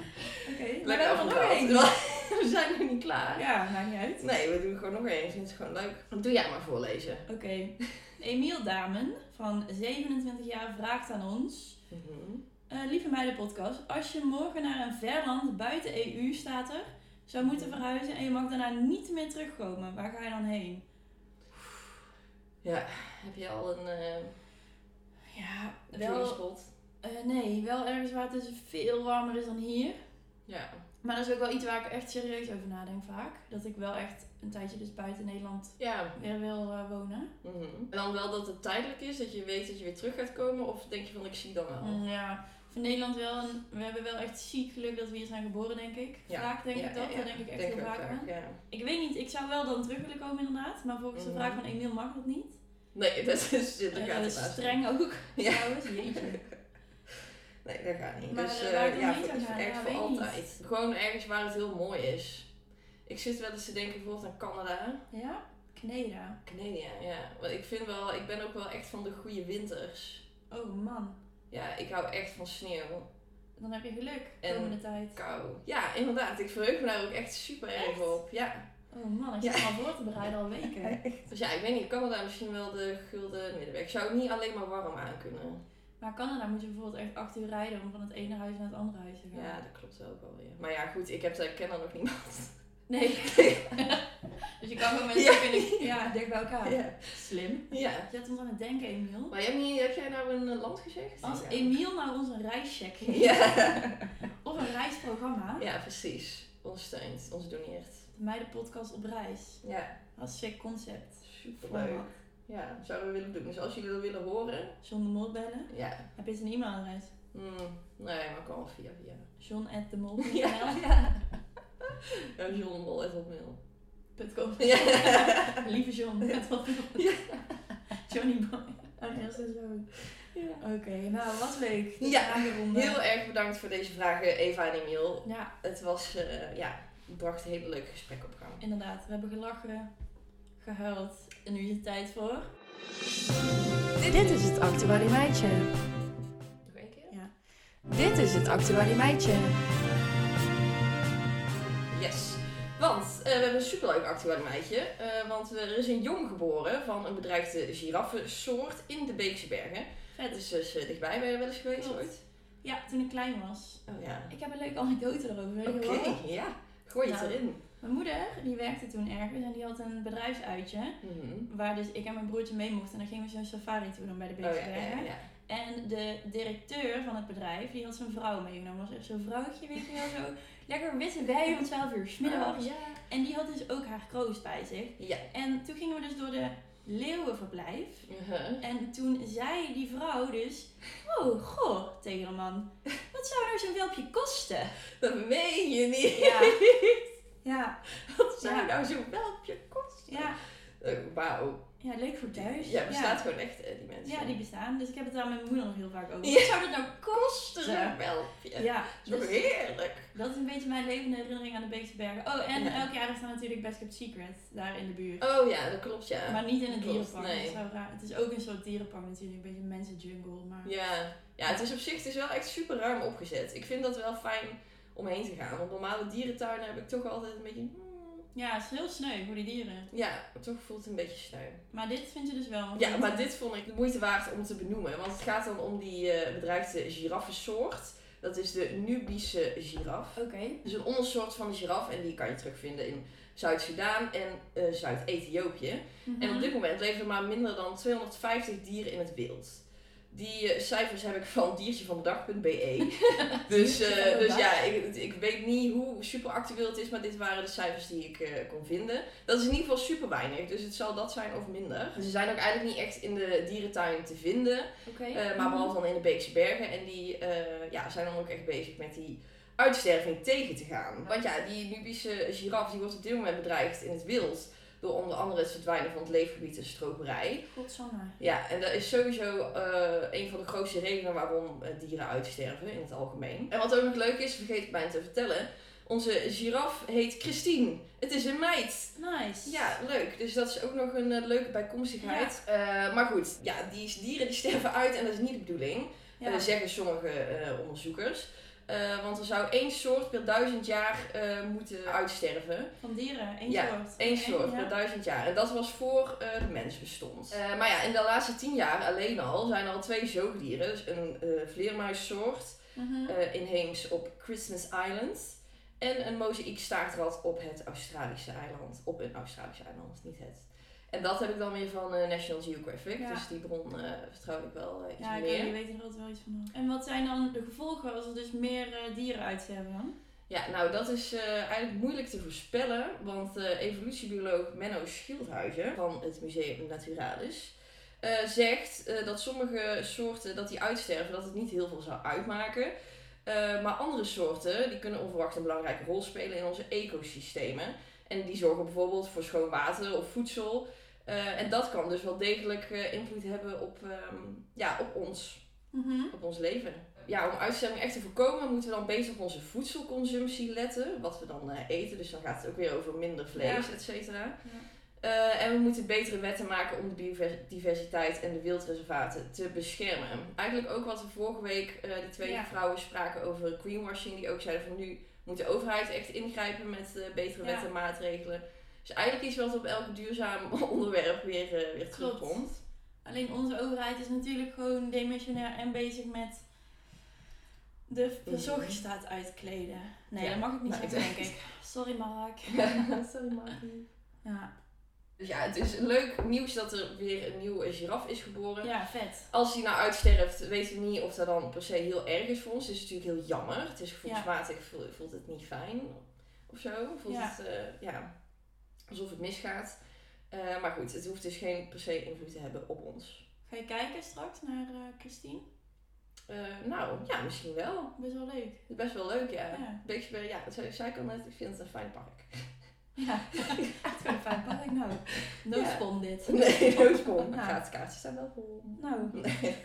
[SPEAKER 1] Oké, we
[SPEAKER 3] Lekker
[SPEAKER 1] hebben er nog
[SPEAKER 3] afgedwaald.
[SPEAKER 1] één.
[SPEAKER 3] We zijn nog niet klaar.
[SPEAKER 1] Ja, maakt niet uit.
[SPEAKER 3] Nee, we doen gewoon nog één. Ik vind het gewoon leuk. Doe jij maar voorlezen.
[SPEAKER 1] Oké. Emiel Damen van 27 jaar vraagt aan ons. eh, lieve meidenpodcast, als je morgen naar een ver land buiten EU staat er, zou moeten verhuizen en je mag daarna niet meer terugkomen, waar ga je dan heen?
[SPEAKER 3] Heb je al een eh
[SPEAKER 1] Ja, wel,
[SPEAKER 3] dreamspot?
[SPEAKER 1] eh, nee, wel ergens waar het dus veel warmer is dan hier.
[SPEAKER 3] Ja.
[SPEAKER 1] Maar dat is ook wel iets waar ik echt serieus over nadenk vaak. Dat ik wel echt een tijdje dus buiten Nederland
[SPEAKER 3] Ja.
[SPEAKER 1] weer wil eh, wonen.
[SPEAKER 3] Mhm. En dan wel dat het tijdelijk is, dat je weet dat je weer terug gaat komen? Of denk je van, ik zie dan wel?
[SPEAKER 1] Mm, ja, voor Nederland wel. een- we hebben wel echt ziek geluk dat we hier zijn geboren, denk ik.
[SPEAKER 3] Ja.
[SPEAKER 1] Vaak denk
[SPEAKER 3] Ja,
[SPEAKER 1] ik dat,
[SPEAKER 3] ja, ja.
[SPEAKER 1] daar denk ik echt
[SPEAKER 3] Denk
[SPEAKER 1] heel
[SPEAKER 3] ik ook
[SPEAKER 1] vaak aan.
[SPEAKER 3] ja.
[SPEAKER 1] Ik weet niet, ik zou wel dan terug willen komen inderdaad. Maar volgens
[SPEAKER 3] Mhm.
[SPEAKER 1] de vraag van Emiel mag dat niet.
[SPEAKER 3] Nee, dat is, dat
[SPEAKER 1] Eh,
[SPEAKER 3] gaat
[SPEAKER 1] dat
[SPEAKER 3] niet.
[SPEAKER 1] is streng ook,
[SPEAKER 3] Ja.
[SPEAKER 1] trouwens. Jeetje.
[SPEAKER 3] Nee, dat gaat niet.
[SPEAKER 1] Maar,
[SPEAKER 3] dus
[SPEAKER 1] eh,
[SPEAKER 3] eh,
[SPEAKER 1] waar ik dan
[SPEAKER 3] ja,
[SPEAKER 1] heen
[SPEAKER 3] voor,
[SPEAKER 1] zou gaan,
[SPEAKER 3] echt
[SPEAKER 1] ja,
[SPEAKER 3] voor
[SPEAKER 1] weet ik niet.
[SPEAKER 3] altijd. Gewoon ergens waar het heel mooi is. Ik zit wel eens te denken bijvoorbeeld aan Canada.
[SPEAKER 1] Ja? Kneda.
[SPEAKER 3] Canada, ja. Want ik vind wel, ik ben ook wel echt van de goede winters.
[SPEAKER 1] Oh man,
[SPEAKER 3] Ja, ik hou echt van sneeuw.
[SPEAKER 1] dan heb je geluk
[SPEAKER 3] En-
[SPEAKER 1] komende tijd.
[SPEAKER 3] Kou. Ja, inderdaad. Ik verheug me daar ook echt super erg op. Ja.
[SPEAKER 1] Oh man, ik zit me al voor te bereiden al weken.
[SPEAKER 3] Dus ja, ik weet niet, Canada misschien wel de gulden middenweg. Ik zou het niet alleen maar warm aan kunnen.
[SPEAKER 1] Maar Canada moet je bijvoorbeeld echt acht uur rijden om van het ene huis naar het andere huis te gaan.
[SPEAKER 3] Ja, dat klopt ook wel weer. Maar ja, goed, ik heb daar kennen nog niemand.
[SPEAKER 1] Nee. dus je kan gewoon mensen
[SPEAKER 3] Ja.
[SPEAKER 1] kunnen... Ja, dicht bij elkaar.
[SPEAKER 3] Ja.
[SPEAKER 1] Slim.
[SPEAKER 3] ja.
[SPEAKER 1] Je hebt ons aan het denken, Emiel.
[SPEAKER 3] Maar heb, je, heb jij nou een eh, land gezegd?
[SPEAKER 1] Als
[SPEAKER 3] Ja.
[SPEAKER 1] Emiel nou ons een reischeck geeft,
[SPEAKER 3] Ja.
[SPEAKER 1] of een reisprogramma,
[SPEAKER 3] ja, precies. Ons steunt, ons doneert.
[SPEAKER 1] mij de podcast op reis.
[SPEAKER 3] Ja,
[SPEAKER 1] Dat is een sick concept.
[SPEAKER 3] superleuk. Ja, zouden we willen doen. Dus als jullie dat willen horen,
[SPEAKER 1] John de Mol bellen.
[SPEAKER 3] ja.
[SPEAKER 1] Heb je zijn e-mailadres?
[SPEAKER 3] Hmm, nee, maar kan wel via via.
[SPEAKER 1] John at de mol.
[SPEAKER 3] Ja, John Bol is op mail.
[SPEAKER 1] Ja. Lieve John. Johnny Boy. Oh, nee, dat is zo.
[SPEAKER 3] Ja.
[SPEAKER 1] Oké, nou wat leuk. Dit
[SPEAKER 3] Ja,
[SPEAKER 1] is aangeronden.
[SPEAKER 3] Heel erg bedankt voor deze vragen, Eva en Emiel.
[SPEAKER 1] Ja,
[SPEAKER 3] Het was, eh, ja, het bracht een hele leuke gesprek op gang.
[SPEAKER 1] inderdaad. We hebben gelachen, gehuild. En nu is het tijd voor...
[SPEAKER 2] Dit is het Actuali Meidje.
[SPEAKER 3] Nog één keer?
[SPEAKER 2] Dit is het Actuali Meidje.
[SPEAKER 3] Yes. Want eh, we hebben een superleuk actueel meidje. eh, want er is een jong geboren van een bedreigde giraffensoort in de Beekse Bergen. Het
[SPEAKER 1] Vet.
[SPEAKER 3] is dus eh, dichtbij, ben je wel eens geweest
[SPEAKER 1] Klopt.
[SPEAKER 3] ooit?
[SPEAKER 1] Ja, toen ik klein was.
[SPEAKER 3] Oh ja.
[SPEAKER 1] Ik heb een leuke anekdote erover. Weet je
[SPEAKER 3] Oké,
[SPEAKER 1] wel?
[SPEAKER 3] ja. Gooi het
[SPEAKER 1] Nou.
[SPEAKER 3] erin.
[SPEAKER 1] Mijn moeder, die werkte toen ergens en die had een bedrijfsuitje.
[SPEAKER 3] Mhm.
[SPEAKER 1] Waar dus ik en mijn broertje mee mochten. En dan gingen we zo'n safari tour doen bij de
[SPEAKER 3] Oh
[SPEAKER 1] Beekse
[SPEAKER 3] ja, ja,
[SPEAKER 1] Bergen.
[SPEAKER 3] ja, ja.
[SPEAKER 1] En de directeur van het bedrijf, die had zijn vrouw meegenomen. Dat was echt zo'n vrouwtje, weet je wel, zo lekker witte bij om 12 uur 's middags.
[SPEAKER 3] ja.
[SPEAKER 1] En die had dus ook haar kroost bij zich.
[SPEAKER 3] Oh. Ja.
[SPEAKER 1] En toen gingen we dus door de leeuwenverblijf.
[SPEAKER 3] Mhm.
[SPEAKER 1] En toen zei die vrouw dus, oh goh, tegen de man, wat zou nou zo'n welpje kosten?
[SPEAKER 3] Dat meen je niet.
[SPEAKER 1] Ja, ja,
[SPEAKER 3] Wat zou
[SPEAKER 1] Ja.
[SPEAKER 3] nou zo'n welpje kosten?
[SPEAKER 1] ja,
[SPEAKER 3] Oh, Wauw.
[SPEAKER 1] ja leuk voor thuis.
[SPEAKER 3] Ja, bestaat gewoon echt, eh, die mensen.
[SPEAKER 1] Ja, die bestaan. Dus ik heb het daar met mijn moeder nog heel vaak over.
[SPEAKER 3] Ja.
[SPEAKER 1] Wat zou dat nou kosten?
[SPEAKER 3] Zo'n welpje.
[SPEAKER 1] Ja,
[SPEAKER 3] Zo
[SPEAKER 1] dus-
[SPEAKER 3] heerlijk.
[SPEAKER 1] Dat is een beetje mijn levende herinnering aan de Beekse Bergen. Oh, en
[SPEAKER 3] Ja.
[SPEAKER 1] elk jaar is er natuurlijk Best Kept Secret daar in de buurt.
[SPEAKER 3] Oh ja, dat klopt ja.
[SPEAKER 1] maar niet in het
[SPEAKER 3] klopt,
[SPEAKER 1] dierenpark.
[SPEAKER 3] nee.
[SPEAKER 1] Dat is wel raar. Het is ook een soort dierenpark natuurlijk, een beetje een mensenjungle. Maar
[SPEAKER 3] Ja. ja, het is op zich het is wel echt super ruim opgezet. Ik vind dat wel fijn om heen te gaan. Want normale dierentuinen heb ik toch altijd een beetje... mm,
[SPEAKER 1] ja, het is heel sneu voor die dieren.
[SPEAKER 3] Ja, toch voelt het een beetje sneu.
[SPEAKER 1] Maar dit vind je dus wel. want
[SPEAKER 3] Ja, maar dit vond ik de moeite waard om te benoemen. Want het gaat dan om die eh, bedreigde giraffensoort. Dat is de Nubische giraf.
[SPEAKER 1] Oké.
[SPEAKER 3] Het is een ondersoort van de giraf en die kan je terugvinden in Zuid-Soedan en eh, Zuid-Ethiopië. En
[SPEAKER 1] Mhm.
[SPEAKER 3] op dit moment leven er maar minder dan 250 dieren in het wild. Die eh, cijfers heb ik van diertjevandedag.be. E. dus eh, dus ja, ik, ik weet niet hoe super actueel het is, maar dit waren de cijfers die ik eh, kon vinden. Dat is in ieder geval super weinig, dus het zal dat zijn of minder. Ze zijn ook eigenlijk niet echt in de dierentuin te vinden.
[SPEAKER 1] Oké.
[SPEAKER 3] Eh, maar behalve dan in de Beekse Bergen. En die eh, ja, zijn dan ook echt bezig met die uitsterving tegen te gaan. Want ja, die Nubische giraf die wordt op dit moment bedreigd in het wild. Door onder andere het verdwijnen van het leefgebied en stroperij.
[SPEAKER 1] Godsamme.
[SPEAKER 3] Ja, en dat is sowieso eh, een van de grootste redenen waarom eh, dieren uitsterven in het algemeen. En wat ook nog leuk is, vergeet ik bijna te vertellen. Onze giraf heet Christine. Het is een meid.
[SPEAKER 1] Nice.
[SPEAKER 3] Ja, leuk. Dus dat is ook nog een eh, leuke bijkomstigheid. Eh, maar goed, ja, die dieren die sterven uit en dat is niet de bedoeling.
[SPEAKER 1] Ja.
[SPEAKER 3] Eh, zeggen sommige eh, onderzoekers. Eh, want er zou één soort per duizend jaar eh, moeten uitsterven.
[SPEAKER 1] Van dieren, één
[SPEAKER 3] Ja,
[SPEAKER 1] soort.
[SPEAKER 3] Eén soort
[SPEAKER 1] ja.
[SPEAKER 3] per duizend jaar. En dat was voor eh, de mens bestond. Eh, maar ja, in de laatste tien jaar alleen al zijn er al twee zoogdieren. Dus een eh, vleermuissoort
[SPEAKER 1] Mhm.
[SPEAKER 3] eh, inheems op Christmas Island. En een mozaïekstaartrad op het Australische eiland. Op een Australische eiland, niet het. En dat heb ik dan weer van eh, National Geographic.
[SPEAKER 1] Ja.
[SPEAKER 3] Dus die bron eh, vertrouw ik wel eh, iets
[SPEAKER 1] ja, ik
[SPEAKER 3] meer.
[SPEAKER 1] weet, je weet er altijd wel iets van. En wat zijn dan de gevolgen als er dus meer eh, dieren uitsterven dan?
[SPEAKER 3] Ja, nou dat is eh, eigenlijk moeilijk te voorspellen, want eh, evolutiebioloog Menno Schildhuizen van het Museum Naturalis eh, zegt eh, dat sommige soorten dat die uitsterven, dat het niet heel veel zou uitmaken. Eh, maar andere soorten die kunnen onverwacht een belangrijke rol spelen in onze ecosystemen. En die zorgen bijvoorbeeld voor schoon water of voedsel. Eh, en dat kan dus wel degelijk eh, invloed hebben op, ehm, ja, op ons
[SPEAKER 1] Mhm.
[SPEAKER 3] op ons leven. Ja, om uitsterving echt te voorkomen moeten we dan beter op onze voedselconsumptie letten. Wat we dan eh, eten, dus dan gaat het ook weer over minder vlees, et cetera. Eh, en we moeten betere wetten maken om de biodiversiteit en de wildreservaten te beschermen. Eigenlijk ook wat we vorige week, eh, die twee
[SPEAKER 1] Ja.
[SPEAKER 3] vrouwen spraken over greenwashing, die ook zeiden van nu moet de overheid echt ingrijpen met eh, betere
[SPEAKER 1] Ja.
[SPEAKER 3] wetten en maatregelen. Dus eigenlijk iets wat op elk duurzaam onderwerp weer, eh, weer terugkomt.
[SPEAKER 1] Alleen onze overheid is natuurlijk gewoon demissionair en bezig met de verzorgingsstaat uitkleden. Nee,
[SPEAKER 3] Mhm. Ja.
[SPEAKER 1] dat mag ik niet
[SPEAKER 3] Nee,
[SPEAKER 1] zeggen,
[SPEAKER 3] ik-
[SPEAKER 1] denk ik. Sorry, Mark.
[SPEAKER 3] Sorry, Martin.
[SPEAKER 1] Ja,
[SPEAKER 3] Dus ja, het is leuk nieuws dat er weer een nieuwe giraf is geboren.
[SPEAKER 1] ja vet.
[SPEAKER 3] Als die nou uitsterft, weten we niet of dat dan per se heel erg is voor ons. Het is natuurlijk heel jammer. Het is gevoelsmatig, voel- voelt het niet fijn of zo. Voelt
[SPEAKER 1] Ja.
[SPEAKER 3] het, eh, ja, alsof het misgaat. Eh, maar goed, het hoeft dus geen per se invloed te hebben op ons.
[SPEAKER 1] Ga je kijken straks naar eh, Christine?
[SPEAKER 3] Eh, nou, ja, misschien wel.
[SPEAKER 1] Best wel leuk.
[SPEAKER 3] Het is best wel leuk, ja.
[SPEAKER 1] Ja.
[SPEAKER 3] Beeksberg, ja, dat zei- zei ik al net, ik vind het een fijn park.
[SPEAKER 1] Ja, het is wel fijn park nou. Noodspon dit.
[SPEAKER 3] Nee, noodkom.
[SPEAKER 1] Nou.
[SPEAKER 3] Gaat kaartjes staan wel vol.
[SPEAKER 1] Nou,
[SPEAKER 3] Nee.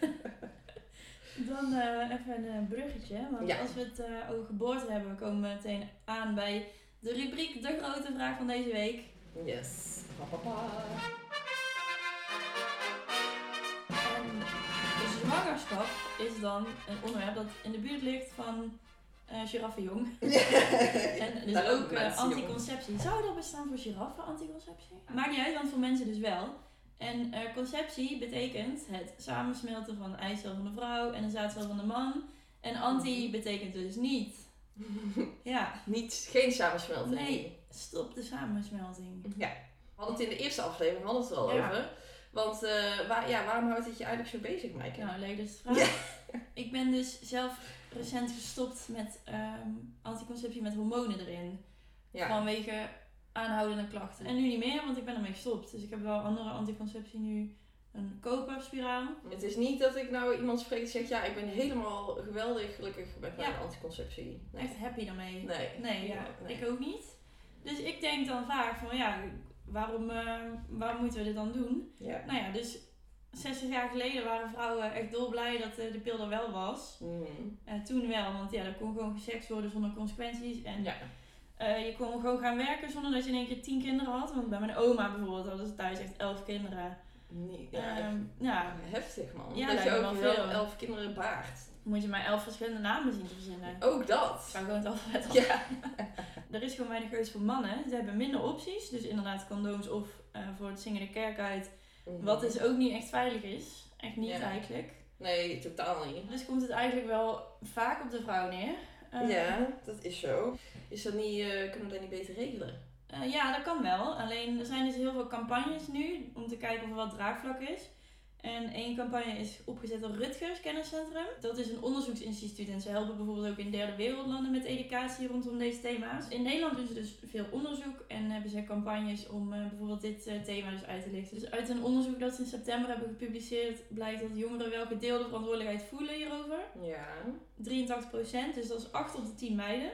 [SPEAKER 1] Dan eh, even een eh, bruggetje. Want
[SPEAKER 3] Ja.
[SPEAKER 1] als we het eh, over geboorte hebben, komen we meteen aan bij de rubriek De grote vraag van deze week.
[SPEAKER 3] Yes. Pa, pa, pa.
[SPEAKER 1] En de zwangerschap is dan een onderwerp dat in de buurt ligt van eh giraffenjong. En dus
[SPEAKER 3] Daar
[SPEAKER 1] ook eh,
[SPEAKER 3] mensen, jongens.
[SPEAKER 1] anticonceptie. Zou dat bestaan voor giraffen, anticonceptie? Maakt niet uit, want voor mensen dus wel. En eh, conceptie betekent het samensmelten van de eicel van de vrouw en de zaadcel van de man. En
[SPEAKER 3] Mhm.
[SPEAKER 1] anti betekent dus niet. Ja.
[SPEAKER 3] Niet, geen samensmelting.
[SPEAKER 1] Nee. Stop de samensmelting.
[SPEAKER 3] Ja. We hadden het in de eerste aflevering hadden we het er al
[SPEAKER 1] Ja.
[SPEAKER 3] over. Want eh, waar, ja, waarom houdt het je eigenlijk zo bezig, Maaike?
[SPEAKER 1] Nou, leuk dat je het vraagt. Ik ben dus zelf recent gestopt met ehm, anticonceptie met hormonen erin.
[SPEAKER 3] Ja.
[SPEAKER 1] Vanwege aanhoudende klachten. En nu niet meer, want ik ben ermee gestopt. Dus ik heb wel andere anticonceptie nu. Een koperspiraal.
[SPEAKER 3] Het is niet dat ik nou iemand spreek die zegt, ja, ik ben helemaal geweldig gelukkig met mijn
[SPEAKER 1] Ja.
[SPEAKER 3] anticonceptie. Nee.
[SPEAKER 1] Echt happy daarmee.
[SPEAKER 3] Nee.
[SPEAKER 1] Nee, ja,
[SPEAKER 3] Nee.
[SPEAKER 1] ik ook niet. Dus ik denk dan vaak van ja, waarom, eh, waarom moeten we dit dan doen?
[SPEAKER 3] Ja.
[SPEAKER 1] Nou ja, dus 60 jaar geleden waren vrouwen echt dolblij dat eh, de pil er wel was.
[SPEAKER 3] Mm.
[SPEAKER 1] Eh, toen wel, want ja, er kon gewoon gesext worden zonder consequenties. En
[SPEAKER 3] Ja.
[SPEAKER 1] eh, je kon gewoon gaan werken zonder dat je in één keer tien kinderen had. Want bij mijn oma bijvoorbeeld hadden ze thuis echt elf kinderen.
[SPEAKER 3] Nee,
[SPEAKER 1] Ja,
[SPEAKER 3] ja, echt
[SPEAKER 1] ja
[SPEAKER 3] heftig man.
[SPEAKER 1] Ehm, Ja,
[SPEAKER 3] dat je
[SPEAKER 1] lijkt me
[SPEAKER 3] ook
[SPEAKER 1] wel
[SPEAKER 3] wel
[SPEAKER 1] veel.
[SPEAKER 3] elf kinderen baart.
[SPEAKER 1] moet je maar elf verschillende namen zien te verzinnen.
[SPEAKER 3] Ook dat.
[SPEAKER 1] Ik zou gewoon het alfabet af.
[SPEAKER 3] Ja.
[SPEAKER 1] Er is gewoon weinig keus voor mannen. Ze hebben minder opties. Dus inderdaad condooms of eh, voor het zingen de kerk uit. Wat dus ook niet echt veilig is. Echt niet
[SPEAKER 3] Ja.
[SPEAKER 1] eigenlijk.
[SPEAKER 3] Nee, totaal niet.
[SPEAKER 1] Dus komt het eigenlijk wel vaak op de vrouw neer. Eh,
[SPEAKER 3] Ja, dat is zo. Is dat niet, eh, kunnen we dat niet beter regelen?
[SPEAKER 1] Eh, ja, dat kan wel. Alleen er zijn dus heel veel campagnes nu om te kijken of er wat draagvlak is. En één campagne is opgezet door Rutgers Kenniscentrum. Dat is een onderzoeksinstituut en ze helpen bijvoorbeeld ook in derde wereldlanden met educatie rondom deze thema's. In Nederland doen ze dus veel onderzoek en hebben ze campagnes om eh, bijvoorbeeld dit eh, thema dus uit te lichten. Dus uit een onderzoek dat ze in september hebben gepubliceerd blijkt dat jongeren wel gedeelde verantwoordelijkheid voelen hierover.
[SPEAKER 3] Ja.
[SPEAKER 1] 83%, dus dat is 8 op de 10 meiden.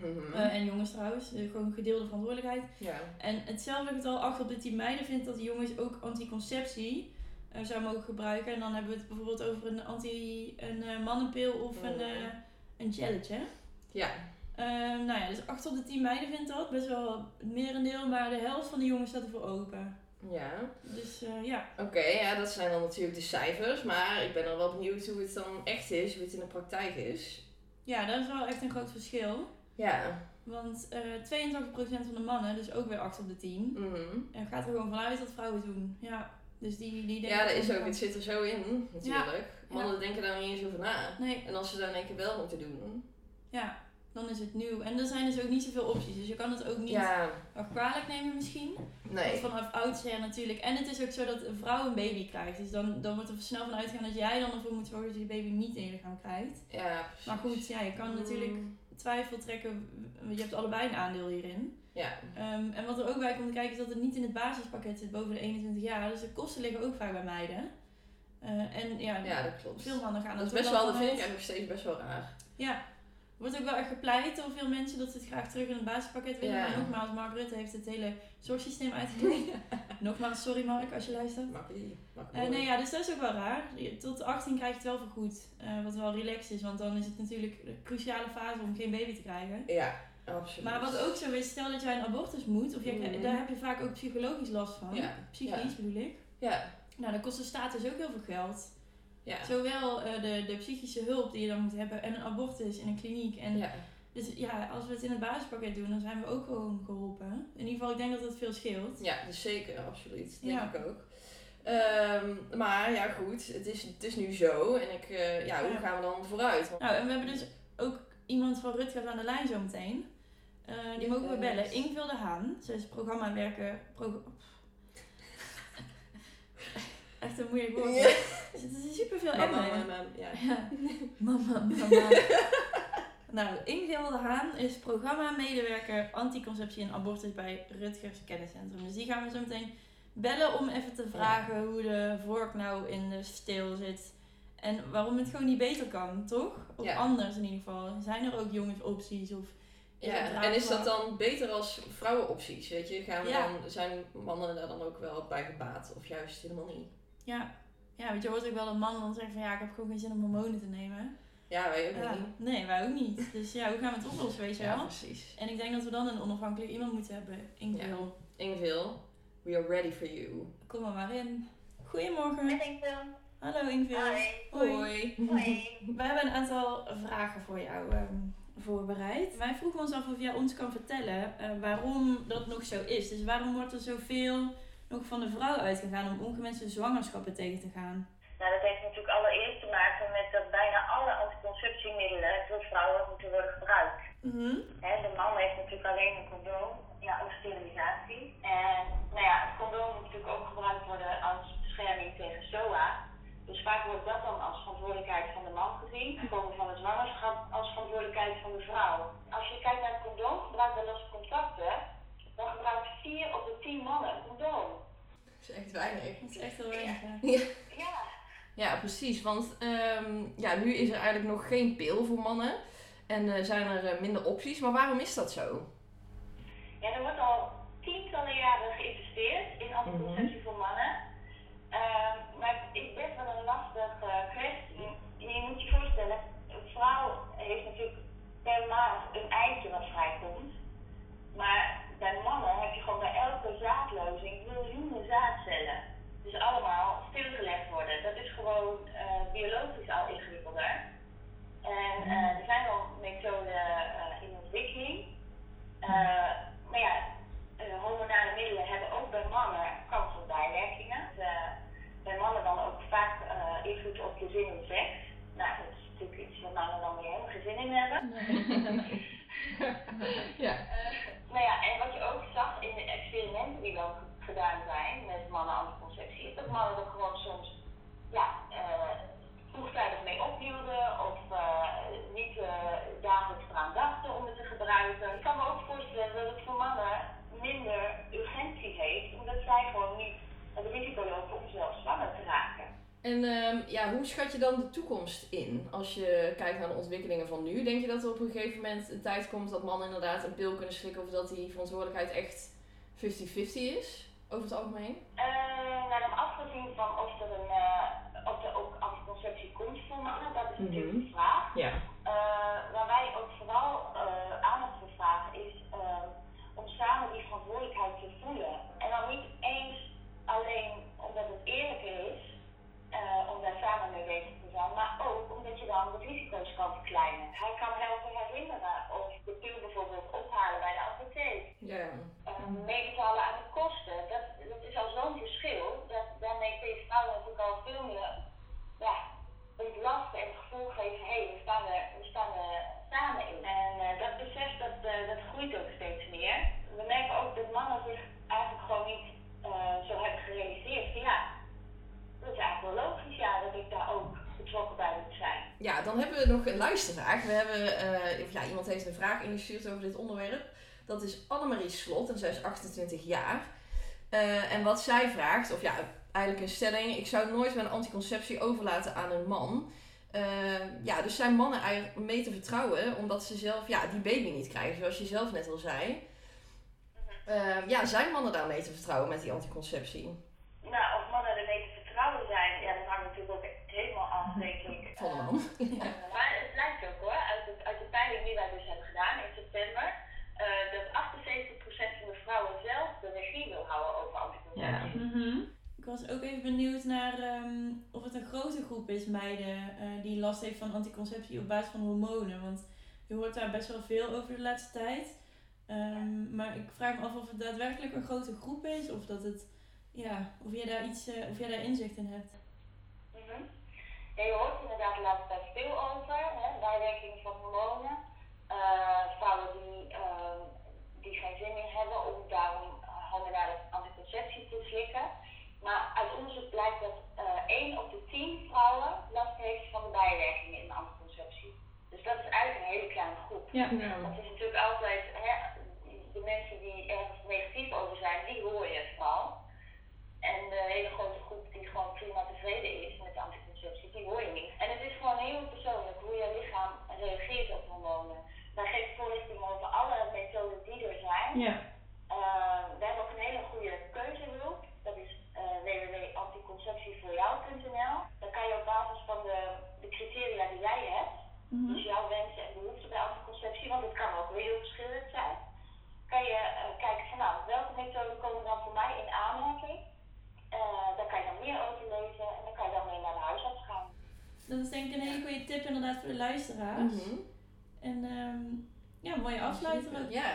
[SPEAKER 3] Mhm.
[SPEAKER 1] Eh, en jongens trouwens, eh, gewoon gedeelde verantwoordelijkheid.
[SPEAKER 3] ja.
[SPEAKER 1] En hetzelfde getal 8 op de 10 meiden vindt dat de jongens ook anticonceptie eh, zou mogen gebruiken. En dan hebben we het bijvoorbeeld
[SPEAKER 3] Oh,
[SPEAKER 1] over een, anti, een eh, mannenpil of een, eh, een gelletje.
[SPEAKER 3] Ja.
[SPEAKER 1] Ehm, nou ja, dus 8 op de 10 meiden vindt dat best wel het merendeel, maar de helft van de jongens staat ervoor open.
[SPEAKER 3] Ja.
[SPEAKER 1] Dus eh, ja,
[SPEAKER 3] Oké, ja, dat zijn dan natuurlijk de cijfers. Maar ik ben dan wel benieuwd hoe het dan echt is, hoe het in de praktijk is.
[SPEAKER 1] ja, dat is wel echt een groot verschil.
[SPEAKER 3] Ja.
[SPEAKER 1] Want eh 82% van de mannen, dus ook weer 8 op de 10,
[SPEAKER 3] mhm.
[SPEAKER 1] eh, gaat er gewoon vanuit dat vrouwen het doen. Ja, dus die, die denken
[SPEAKER 3] Ja, dat is
[SPEAKER 1] gewoon
[SPEAKER 3] ook.
[SPEAKER 1] van-
[SPEAKER 3] Het zit er zo in, natuurlijk. Mannen
[SPEAKER 1] Ja.
[SPEAKER 3] denken daar niet eens over na.
[SPEAKER 1] Nee,
[SPEAKER 3] En als ze daar in één keer wel moeten doen.
[SPEAKER 1] ja, dan is het nieuw. En er zijn dus ook niet zoveel opties, dus je kan het ook niet
[SPEAKER 3] Ja,
[SPEAKER 1] nog kwalijk nemen misschien.
[SPEAKER 3] nee.
[SPEAKER 1] Want vanaf oudsher natuurlijk. En het is ook zo dat een vrouw een baby krijgt. Dus dan, dan wordt er snel van uitgaan dat jij dan ervoor moet zorgen dat je die baby niet in je lichaam krijgt.
[SPEAKER 3] Ja, precies.
[SPEAKER 1] Maar goed, ja, je kan natuurlijk
[SPEAKER 3] Mm,
[SPEAKER 1] twijfel trekken. want Je hebt allebei een aandeel hierin.
[SPEAKER 3] Ja,
[SPEAKER 1] Ehm, en wat er ook bij komt kijken is dat het niet in het basispakket zit boven de 21 jaar. Dus de kosten liggen ook vaak bij meiden. Eh, en ja,
[SPEAKER 3] ja, dat klopt.
[SPEAKER 1] veel mannen gaan
[SPEAKER 3] Dat is
[SPEAKER 1] toch
[SPEAKER 3] best wel,
[SPEAKER 1] dan
[SPEAKER 3] dat vind ik
[SPEAKER 1] vanuit-
[SPEAKER 3] eigenlijk nog steeds best wel raar.
[SPEAKER 1] Ja. Wordt ook wel echt gepleit door veel mensen dat ze het graag terug in het basispakket willen.
[SPEAKER 3] Ja.
[SPEAKER 1] Maar nogmaals, Mark Rutte heeft het hele zorgsysteem uitgelegd. nogmaals, sorry Mark als je luistert.
[SPEAKER 3] Makkelijk. Makkelijk.
[SPEAKER 1] Eh, nee, ja, dus dat is ook wel raar. Je- Tot 18 krijg je het wel vergoed. eh, wat wel relaxed is, want dan is het natuurlijk de cruciale fase om geen baby te krijgen.
[SPEAKER 3] Ja, absoluut.
[SPEAKER 1] Maar wat ook zo is, stel dat jij een abortus moet, of jij, krijgt-
[SPEAKER 3] Mhm.
[SPEAKER 1] daar heb je vaak ook psychologisch last van.
[SPEAKER 3] Ja,
[SPEAKER 1] Psychisch bedoel ik.
[SPEAKER 3] Ja,
[SPEAKER 1] Nou, dan kost de staat dus ook heel veel geld.
[SPEAKER 3] ja.
[SPEAKER 1] Zowel eh, de, de psychische hulp die je dan moet hebben, en een abortus in een kliniek. En,
[SPEAKER 3] ja.
[SPEAKER 1] Dus ja, als we het in het basispakket doen, dan zijn we ook gewoon geholpen. In ieder geval, ik denk dat dat veel scheelt.
[SPEAKER 3] Ja, dus zeker, absoluut. Denk
[SPEAKER 1] Ja.
[SPEAKER 3] ik ook. Ehm, maar ja, goed, het is, het is nu zo. En ik, eh, ja, hoe
[SPEAKER 1] Ja.
[SPEAKER 3] gaan we dan vooruit? Want-
[SPEAKER 1] Nou, en we hebben dus ook iemand van Rutgers aan de lijn zometeen. Eh, die
[SPEAKER 3] Yes.
[SPEAKER 1] mogen we bellen. Ingvil de Haan. Ze is programma werken. Pro Echt een moeilijk woord.
[SPEAKER 3] Ja.
[SPEAKER 1] Er zitten superveel
[SPEAKER 3] Mam,
[SPEAKER 1] M'en
[SPEAKER 3] mam,
[SPEAKER 1] in.
[SPEAKER 3] mam, mam, ja.
[SPEAKER 1] Ja. Mama, mama. nou, Ingvil de Haan is programma-medewerker anticonceptie en abortus bij Rutgers Kenniscentrum. Dus die gaan we zo meteen bellen om even te vragen hoe de vork nou in de steel zit. En waarom het gewoon niet beter kan, toch? Of
[SPEAKER 3] Ja.
[SPEAKER 1] anders in ieder geval. Zijn er ook jongensopties? Of is het
[SPEAKER 3] Ja, en is dat dan beter als vrouwenopties? Weet je, gaan we
[SPEAKER 1] Ja.
[SPEAKER 3] dan, zijn mannen daar dan ook wel bij gebaat? Of juist helemaal niet?
[SPEAKER 1] Ja. ja, want je hoort ook wel dat mannen dan zeggen van ja, ik heb gewoon geen zin om hormonen te nemen.
[SPEAKER 3] Ja, wij ook
[SPEAKER 1] Ja.
[SPEAKER 3] niet.
[SPEAKER 1] Nee, wij ook niet. Dus ja, hoe gaan we het oplossen, weet je
[SPEAKER 3] Ja,
[SPEAKER 1] wel?
[SPEAKER 3] precies.
[SPEAKER 1] En ik denk dat we dan een onafhankelijk iemand moeten hebben. Ingvil,
[SPEAKER 3] Ingeveel, we are ready for you.
[SPEAKER 1] kom er maar in. Goedemorgen.
[SPEAKER 4] Met Ingvil.
[SPEAKER 1] Hallo Ingvil.
[SPEAKER 4] Hoi. Hoi.
[SPEAKER 1] We hebben een aantal vragen voor jou ehm, voorbereid. Wij vroegen ons af of jij ons kan vertellen eh, waarom dat nog zo is. Dus waarom wordt er zoveel nog van de vrouw uitgegaan om ongewenste zwangerschappen tegen te gaan?
[SPEAKER 4] Nou, dat heeft natuurlijk allereerst te maken met dat bijna alle anticonceptiemiddelen door vrouwen moeten worden gebruikt.
[SPEAKER 1] Mhm.
[SPEAKER 4] Hè, de man heeft natuurlijk alleen een condoom, ja, of sterilisatie. En nou ja, het condoom moet natuurlijk ook gebruikt worden als bescherming tegen SOA. Dus vaak wordt dat dan als verantwoordelijkheid van de man gezien. Het komen van de zwangerschap als verantwoordelijkheid van de vrouw. Als je kijkt naar het condoomgebruik bij losse contacten, dan gebruikt 4 op de 10 mannen een condoom.
[SPEAKER 3] Dat is echt weinig.
[SPEAKER 1] Dat is echt heel erg. hè?
[SPEAKER 4] Ja,
[SPEAKER 3] Ja, precies. Want ehm, ja, nu is er eigenlijk nog geen pil voor mannen. En eh, zijn er eh, minder opties. Maar waarom is dat zo?
[SPEAKER 4] Ja, er wordt al tientallen jaren geïnvesteerd in anticonceptie voor mannen. Ehm, maar het is best wel een lastige kwestie. Je je moet je voorstellen, een vrouw heeft natuurlijk per maand een eitje wat vrijkomt. Maar bij mannen heb je gewoon bij elke zaadlozing miljoenen zaadcellen. Dus allemaal stilgelegd worden. Dat is gewoon eh, biologisch al ingewikkelder. En eh, er zijn wel methoden eh, in ontwikkeling. Eh, maar ja, eh, hormonale middelen hebben ook bij mannen kans op bijwerkingen. Eh, bij mannen dan ook vaak eh, invloed op je zin in seks. Nou, dat is natuurlijk iets waar mannen dan weer helemaal geen zin in hebben.
[SPEAKER 3] ja.
[SPEAKER 4] Eh, nou ja, en wat je ook zag in de experimenten die dan gedaan zijn met mannen anticonceptie, is dat mannen er gewoon soms ja, eh, vroegtijdig mee ophielden of eh, niet eh, dagelijks eraan dachten om het te gebruiken. Ik kan me ook voorstellen dat het voor mannen minder urgentie heeft, omdat zij gewoon niet het risico lopen om zelf zwanger te raken.
[SPEAKER 3] En ehm, ja, hoe schat je dan de toekomst in? Als je kijkt naar de ontwikkelingen van nu, denk je dat er op een gegeven moment een tijd komt dat mannen inderdaad een pil kunnen slikken of dat die verantwoordelijkheid echt 50-50 is? Over het algemeen?
[SPEAKER 4] Eh, nou, dan afgezien van of er, een, eh, of er ook anticonceptie komt voor mannen, dat is natuurlijk
[SPEAKER 3] Mhm.
[SPEAKER 4] de vraag.
[SPEAKER 3] Ja.
[SPEAKER 4] eh, waar wij ook vooral eh, eh, hij kan helpen herinneren of de pil bijvoorbeeld ophalen bij de apotheek.
[SPEAKER 3] Ja.
[SPEAKER 4] Eh, meebetalen aan de kosten. Dat, dat is al zo'n verschil. Dat, daarmee kun je vrouwen natuurlijk al veel meer ja, ontlasten en het gevoel geven, hé, we, staan er, we staan er samen in. En eh, dat besef, dat, eh, dat groeit ook steeds meer. We merken ook dat mannen zich eigenlijk gewoon niet eh, zo hebben gerealiseerd van ja, dat is eigenlijk wel logisch ja, dat ik daar ook betrokken bij moet zijn.
[SPEAKER 3] Ja, dan hebben we nog een luistervraag. We hebben, eh, of ja, iemand heeft een vraag ingestuurd over dit onderwerp. Dat is Annemarie Slot en zij is 28 jaar. Eh, en wat zij vraagt, of ja, eigenlijk een stelling. Ik zou nooit mijn anticonceptie overlaten aan een man. Eh, ja, dus zijn mannen eigenlijk mee te vertrouwen omdat ze zelf ja, die baby niet krijgen, zoals je zelf net al zei. Eh, ja, zijn mannen daar mee te vertrouwen met die anticonceptie?
[SPEAKER 4] Nou, of mannen ermee te vertrouwen zijn, ja, dat hangt natuurlijk ook helemaal af, denk ik.
[SPEAKER 3] Van een man.
[SPEAKER 4] Eh, maar het blijkt ook hoor, uit, het, uit de peiling die wij dus hebben gedaan in september, eh, dat 78% van de vrouwen zelf de regie wil houden over anticonceptie.
[SPEAKER 3] Mhm.
[SPEAKER 1] Ik was ook even benieuwd naar ehm, of het een grote groep is meiden eh, die last heeft van anticonceptie op basis van hormonen. Want je hoort daar best wel veel over de laatste tijd. Ehm, maar ik vraag me af of het daadwerkelijk een grote groep is. Of dat het, ja, of jij daar iets, eh, of jij daar inzicht in hebt.
[SPEAKER 4] Mhm. Ja, je hoort inderdaad de laatste tijd veel over, hè, bijwerking van hormonen. Eh, vrouwen die, ehm, die geen zin meer hebben om daarom eh, hormonale anticonceptie te slikken. Maar uit onderzoek blijkt dat eh 1 op de 10 vrouwen last heeft van de bijwerkingen in de anticonceptie. Dus dat is eigenlijk een hele kleine groep.
[SPEAKER 1] Ja.
[SPEAKER 4] Want het is natuurlijk altijd, hè, de mensen die ergens negatief over zijn, die hoor je vooral. En de hele grote groep die gewoon prima tevreden is met de anticonceptie, die hoor je niet. En het is gewoon heel persoonlijk hoe je lichaam reageert op hormonen. Wij geven voorlichting over alle methoden die er zijn.
[SPEAKER 1] Ja.
[SPEAKER 4] Eh, we hebben ook een hele goede keuzehulp. Dat is eh, www.anticonceptievoorjou.nl. Daar kan je op basis van de, de criteria die jij hebt,
[SPEAKER 3] Mhm.
[SPEAKER 4] dus jouw wensen en behoeften bij anticonceptie, want het kan ook weer heel verschillend zijn, kan je eh, kijken van nou, welke methoden komen dan voor mij in aanmerking. Eh, daar kan je dan meer over lezen en dan kan je dan mee naar de huisarts gaan.
[SPEAKER 1] Dat is denk ik een hele goede tip inderdaad voor de luisteraars.
[SPEAKER 3] Mhm.
[SPEAKER 1] En ehm, ja, mooie afsluiter ook.
[SPEAKER 3] Ja,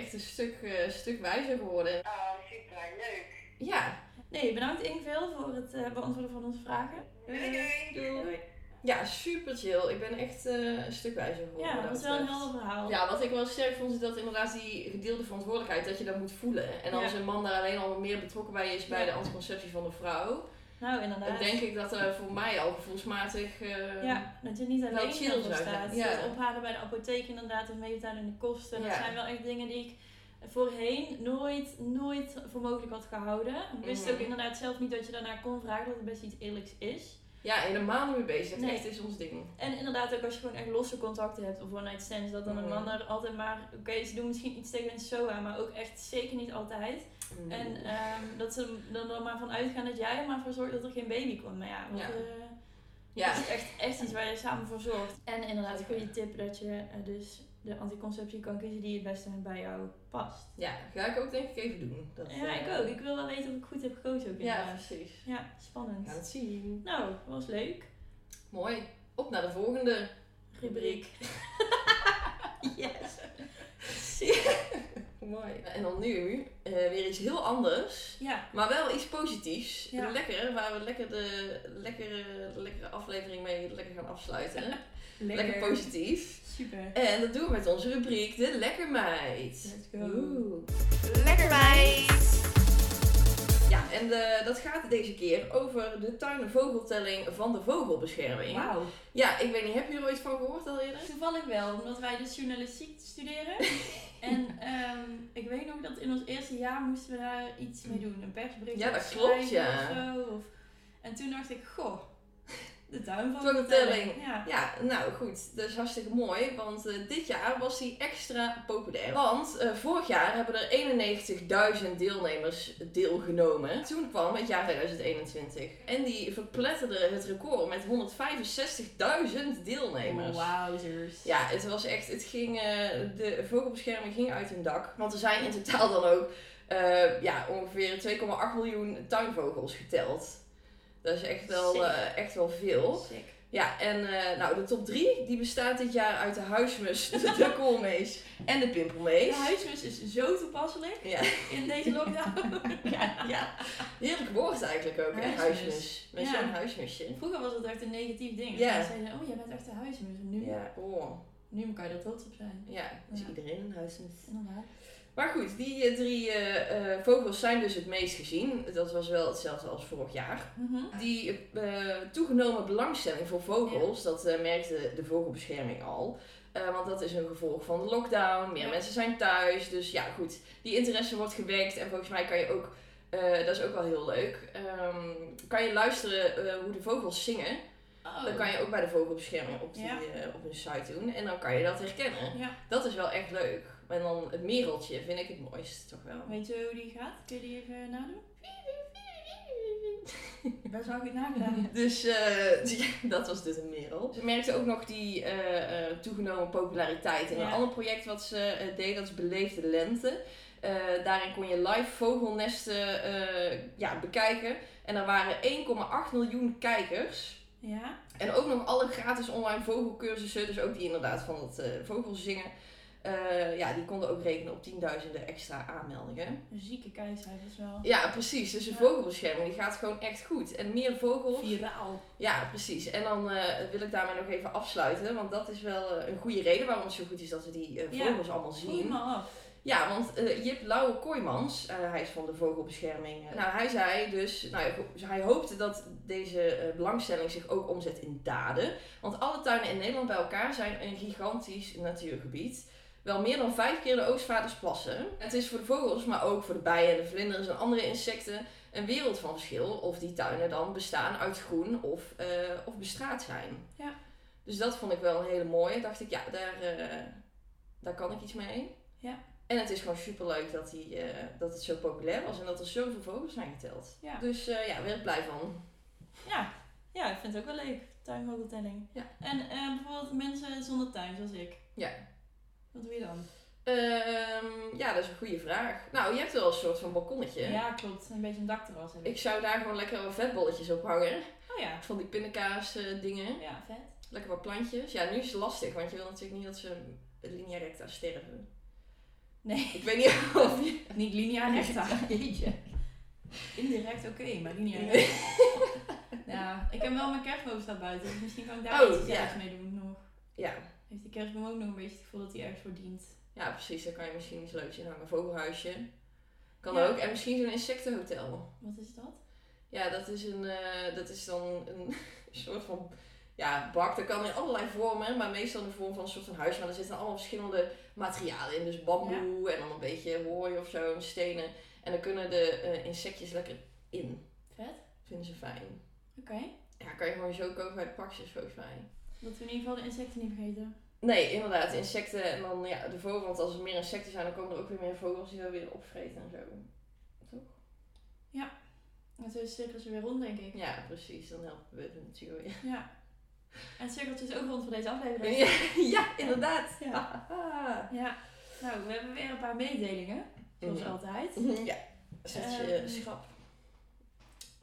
[SPEAKER 3] echt een stuk, eh, stuk wijzer geworden.
[SPEAKER 4] Oh, super, leuk.
[SPEAKER 3] Ja,
[SPEAKER 1] Nee, bedankt Ingeveel voor het eh, beantwoorden van onze vragen.
[SPEAKER 4] Doei, doei.
[SPEAKER 1] Doei.
[SPEAKER 3] Ja, super chill. Ik ben echt eh, een stuk wijzer geworden.
[SPEAKER 1] Ja,
[SPEAKER 3] wat
[SPEAKER 1] dat was wel
[SPEAKER 3] betreft.
[SPEAKER 1] een helder verhaal.
[SPEAKER 3] Ja, wat ik wel sterk vond is dat inderdaad die gedeelde verantwoordelijkheid, dat je dat moet voelen. En
[SPEAKER 1] Ja.
[SPEAKER 3] als een man daar alleen al meer betrokken bij is bij
[SPEAKER 1] Ja.
[SPEAKER 3] de anticonceptie van de vrouw,
[SPEAKER 1] Nou,
[SPEAKER 3] dan
[SPEAKER 1] inderdaad.
[SPEAKER 3] denk ik dat er voor mij al gevoelsmatig... eh,
[SPEAKER 1] Ja, dat je niet
[SPEAKER 3] wel
[SPEAKER 1] alleen
[SPEAKER 3] chill
[SPEAKER 1] daarvoor
[SPEAKER 3] zou zijn.
[SPEAKER 1] staat.
[SPEAKER 3] Ja.
[SPEAKER 1] Dat ophalen bij de apotheek inderdaad, of meebetalen in de kosten. Dat
[SPEAKER 3] Ja.
[SPEAKER 1] zijn wel echt dingen die ik voorheen nooit, nooit voor mogelijk had gehouden. Ik wist
[SPEAKER 3] Mhm.
[SPEAKER 1] ook inderdaad zelf niet dat je daarna kon vragen, dat het best iets eerlijks is.
[SPEAKER 3] ja, helemaal niet mee bezig.
[SPEAKER 1] Nee.
[SPEAKER 3] Echt is ons ding.
[SPEAKER 1] En inderdaad ook als je gewoon echt losse contacten hebt of one night stands, dat dan
[SPEAKER 3] Mhm.
[SPEAKER 1] een man er altijd maar... Oké, ze doen misschien iets tegen een SOA, maar ook echt zeker niet altijd.
[SPEAKER 3] Mm.
[SPEAKER 1] En ehm, dat ze er dan maar van uitgaan dat jij er maar voor zorgt dat er geen baby komt. Maar ja, wat,
[SPEAKER 3] Ja.
[SPEAKER 1] eh,
[SPEAKER 3] ja,
[SPEAKER 1] dat is echt, echt iets waar je samen voor zorgt. En inderdaad, een goede tip dat je eh, dus de anticonceptie kan kiezen die het beste bij jou past.
[SPEAKER 3] ja, ga ik ook denk ik even doen. Dat,
[SPEAKER 1] Ja,
[SPEAKER 3] eh,
[SPEAKER 1] ik ook. Ik wil wel weten of ik goed heb gekozen ook
[SPEAKER 3] Ja,
[SPEAKER 1] inderdaad.
[SPEAKER 3] precies.
[SPEAKER 1] Ja, spannend.
[SPEAKER 3] We gaan het zien.
[SPEAKER 1] Nou, was leuk.
[SPEAKER 3] Mooi. Op naar de volgende.
[SPEAKER 1] Rubriek. yes.
[SPEAKER 3] Mooi. En dan nu eh, weer iets heel anders.
[SPEAKER 1] Ja,
[SPEAKER 3] Maar wel iets positiefs.
[SPEAKER 1] Ja.
[SPEAKER 3] Lekker, waar we lekker de lekkere, lekkere aflevering mee lekker gaan afsluiten. Lekker. positief.
[SPEAKER 1] Super.
[SPEAKER 3] En dat doen we met onze rubriek De Lekker
[SPEAKER 1] Let's
[SPEAKER 3] Meid.
[SPEAKER 1] go.
[SPEAKER 3] Oeh.
[SPEAKER 2] Lekker meid.
[SPEAKER 3] Ja, en de, dat gaat deze keer over de tuin- en vogeltelling van de vogelbescherming.
[SPEAKER 1] Wauw.
[SPEAKER 3] Ja, ik weet niet, heb je er ooit van gehoord al eerder?
[SPEAKER 1] Toevallig wel, omdat wij dus journalistiek studeren. en ehm, ik weet nog dat in ons eerste jaar moesten we daar iets mee doen. Een persbericht
[SPEAKER 3] Ja, dat
[SPEAKER 1] schrijven
[SPEAKER 3] klopt, ja.
[SPEAKER 1] of zo. Of... En toen dacht ik, goh, de tuin van
[SPEAKER 3] Toch een telling.
[SPEAKER 1] Ja.
[SPEAKER 3] Ja, nou goed, dat is hartstikke mooi, want eh, dit jaar was die extra populair. Want eh, vorig jaar hebben er 91.000 deelnemers deelgenomen. Toen kwam het jaar 2021 en die verpletterden het record met 165.000 deelnemers.
[SPEAKER 1] Oh, Wowzers.
[SPEAKER 3] Ja, het was echt, het ging, eh, de vogelbescherming ging uit hun dak. Want er zijn in totaal dan ook eh, ja, ongeveer 2,8 miljoen tuinvogels geteld. Dat is echt wel,
[SPEAKER 1] Sick.
[SPEAKER 3] eh, echt wel veel.
[SPEAKER 1] Sick.
[SPEAKER 3] Ja, en eh, nou, de top 3 die bestaat dit jaar uit de huismus, de koolmees en de
[SPEAKER 1] De
[SPEAKER 3] pimpelmees.
[SPEAKER 1] huismus is zo toepasselijk
[SPEAKER 3] Ja,
[SPEAKER 1] in deze lockdown. ja, ja.
[SPEAKER 3] heerlijk woord eigenlijk ook, hè?
[SPEAKER 1] Huismus.
[SPEAKER 3] Huismus. Met
[SPEAKER 1] Ja.
[SPEAKER 3] zo'n huismusje.
[SPEAKER 1] Vroeger was het echt een negatief ding.
[SPEAKER 3] Ja.
[SPEAKER 1] Mensen zeiden, oh, jij bent echt een huismus. En Nu,
[SPEAKER 3] Ja, oh.
[SPEAKER 1] nu kan je er trots op zijn.
[SPEAKER 3] Ja, is
[SPEAKER 1] Ja.
[SPEAKER 3] iedereen een huismus.
[SPEAKER 1] Inderdaad.
[SPEAKER 3] Maar goed, die eh, drie eh, eh, vogels zijn dus het meest gezien. Dat was wel hetzelfde als vorig jaar.
[SPEAKER 1] Mhm.
[SPEAKER 3] Die eh, toegenomen belangstelling voor vogels, dat eh, merkte de vogelbescherming al. Eh, want dat is een gevolg van de lockdown. Meer
[SPEAKER 1] Ja.
[SPEAKER 3] mensen zijn thuis. Dus ja, goed. Die interesse wordt gewekt. En volgens mij kan je ook, eh, dat is ook wel heel leuk, ehm, kan je luisteren eh, hoe de vogels zingen.
[SPEAKER 1] Oh.
[SPEAKER 3] Dat kan je ook bij de vogelbescherming op, die,
[SPEAKER 1] Ja.
[SPEAKER 3] eh, op hun site doen. En dan kan je dat herkennen.
[SPEAKER 1] Ja.
[SPEAKER 3] Dat is wel echt leuk. En dan het mereltje vind ik het mooist, toch wel.
[SPEAKER 1] Oh, Weet je hoe die gaat? Kun je die even nadoen? Best wel goed nagedaan.
[SPEAKER 3] Dus eh, ja, dat was dus een merel. Ze merkte ook nog die eh, eh, toegenomen populariteit. En
[SPEAKER 1] Ja.
[SPEAKER 3] een ander project wat ze eh, deed, dat is Beleefde Lente. Eh, daarin kon je live vogelnesten eh, ja, bekijken. En er waren 1,8 miljoen kijkers.
[SPEAKER 1] Ja?
[SPEAKER 3] En ook nog alle gratis online vogelcursussen. Dus ook die inderdaad van het eh, vogelzingen. Eh, ja, die konden ook rekenen op tienduizenden extra aanmeldingen.
[SPEAKER 1] Een zieke kijkcijfers wel.
[SPEAKER 3] Ja, precies. Dus de
[SPEAKER 1] Ja.
[SPEAKER 3] vogelbescherming die gaat gewoon echt goed. En meer vogels.
[SPEAKER 1] Viraal.
[SPEAKER 3] Ja, precies. En dan eh, wil ik daarmee nog even afsluiten. Want dat is wel eh, een goede reden waarom het zo goed is dat we die eh,
[SPEAKER 1] Ja.
[SPEAKER 3] vogels allemaal
[SPEAKER 1] Voel je
[SPEAKER 3] zien.
[SPEAKER 1] maar af.
[SPEAKER 3] Ja, want eh, Jip Lauwe Kooijmans, eh, hij is van de vogelbescherming. eh, nou, hij zei dus, nou, hij hoopte dat deze eh, belangstelling zich ook omzet in daden. Want alle tuinen in Nederland bij elkaar zijn een gigantisch natuurgebied. Wel meer dan vijf keer de Oostvaardersplassen. Het is voor de vogels, maar ook voor de bijen, de vlinders en andere insecten een wereld van verschil. Of die tuinen dan bestaan uit groen of, eh, of bestraat zijn.
[SPEAKER 1] Ja.
[SPEAKER 3] Dus dat vond ik wel een hele mooie. Dacht ik, ja, daar, eh, daar kan ik iets mee.
[SPEAKER 1] Ja.
[SPEAKER 3] En het is gewoon superleuk dat, die, eh, dat het zo populair was en dat er zoveel vogels zijn geteld.
[SPEAKER 1] Ja.
[SPEAKER 3] Dus eh, ja, daar ben ik blij van.
[SPEAKER 1] Ja. ja, ik vind het ook wel leuk. Tuinvogeltelling.
[SPEAKER 3] Ja.
[SPEAKER 1] En eh, bijvoorbeeld mensen zonder tuin, zoals ik.
[SPEAKER 3] Ja.
[SPEAKER 1] Wat doe je dan?
[SPEAKER 3] Ehm, ja, dat is een goede vraag. Nou, je hebt wel een soort van balkonnetje.
[SPEAKER 1] Ja, klopt. Een beetje een dakterras heb ik.
[SPEAKER 3] Ik zou daar gewoon lekker wat vetbolletjes op hangen.
[SPEAKER 1] Oh ja.
[SPEAKER 3] Van die pindakaas eh, dingen.
[SPEAKER 1] Ja, vet.
[SPEAKER 3] Lekker wat plantjes. Ja, nu is het lastig, want je wil natuurlijk niet dat ze linea recta sterven.
[SPEAKER 1] Nee,
[SPEAKER 3] Ik weet niet of je...
[SPEAKER 1] niet linea recta.
[SPEAKER 3] Jeetje.
[SPEAKER 1] Indirect oké, maar linea
[SPEAKER 3] Nee.
[SPEAKER 1] recta. Nou, ik heb wel mijn kerstboom staat buiten, dus misschien kan ik daar
[SPEAKER 3] Oh,
[SPEAKER 1] iets
[SPEAKER 3] ja.
[SPEAKER 1] zelfs mee doen nog.
[SPEAKER 3] Ja.
[SPEAKER 1] Heeft die kerstboom ook nog een beetje het gevoel dat hij ergens voor dient.
[SPEAKER 3] ja, precies. Daar kan je misschien iets leuks in hangen. Een vogelhuisje. Kan
[SPEAKER 1] Ja.
[SPEAKER 3] ook. En misschien zo'n insectenhotel.
[SPEAKER 1] Wat is dat?
[SPEAKER 3] Ja, dat is, een, eh, dat is dan een soort van ja, bak. Dat kan in allerlei vormen, maar meestal in de vorm van een soort van huis. Maar er zitten allemaal verschillende materialen in. Dus bamboe en dan een beetje hooi of zo en stenen. En dan kunnen de eh, insectjes lekker in.
[SPEAKER 1] Vet.
[SPEAKER 3] Vinden ze fijn.
[SPEAKER 1] Oké.
[SPEAKER 3] Ja, kan je gewoon zo kopen bij de pakjes volgens mij.
[SPEAKER 1] Dat we in ieder geval de insecten niet vergeten.
[SPEAKER 3] Nee, inderdaad. Insecten en dan ja, de vogel. Want als er meer insecten zijn, dan komen er ook weer meer vogels die dat weer opvreten en zo.
[SPEAKER 1] En zo cirkelen ze weer rond, denk ik.
[SPEAKER 3] Ja, precies. Dan helpen we de natuur weer.
[SPEAKER 1] Ja. En het cirkeltje is ook rond voor deze aflevering.
[SPEAKER 3] Ja, ja inderdaad.
[SPEAKER 1] Ja. Nou, we hebben weer een paar mededelingen, zoals
[SPEAKER 3] Ja.
[SPEAKER 1] altijd.
[SPEAKER 3] Ja, zet je
[SPEAKER 1] Ehm.
[SPEAKER 3] schrap.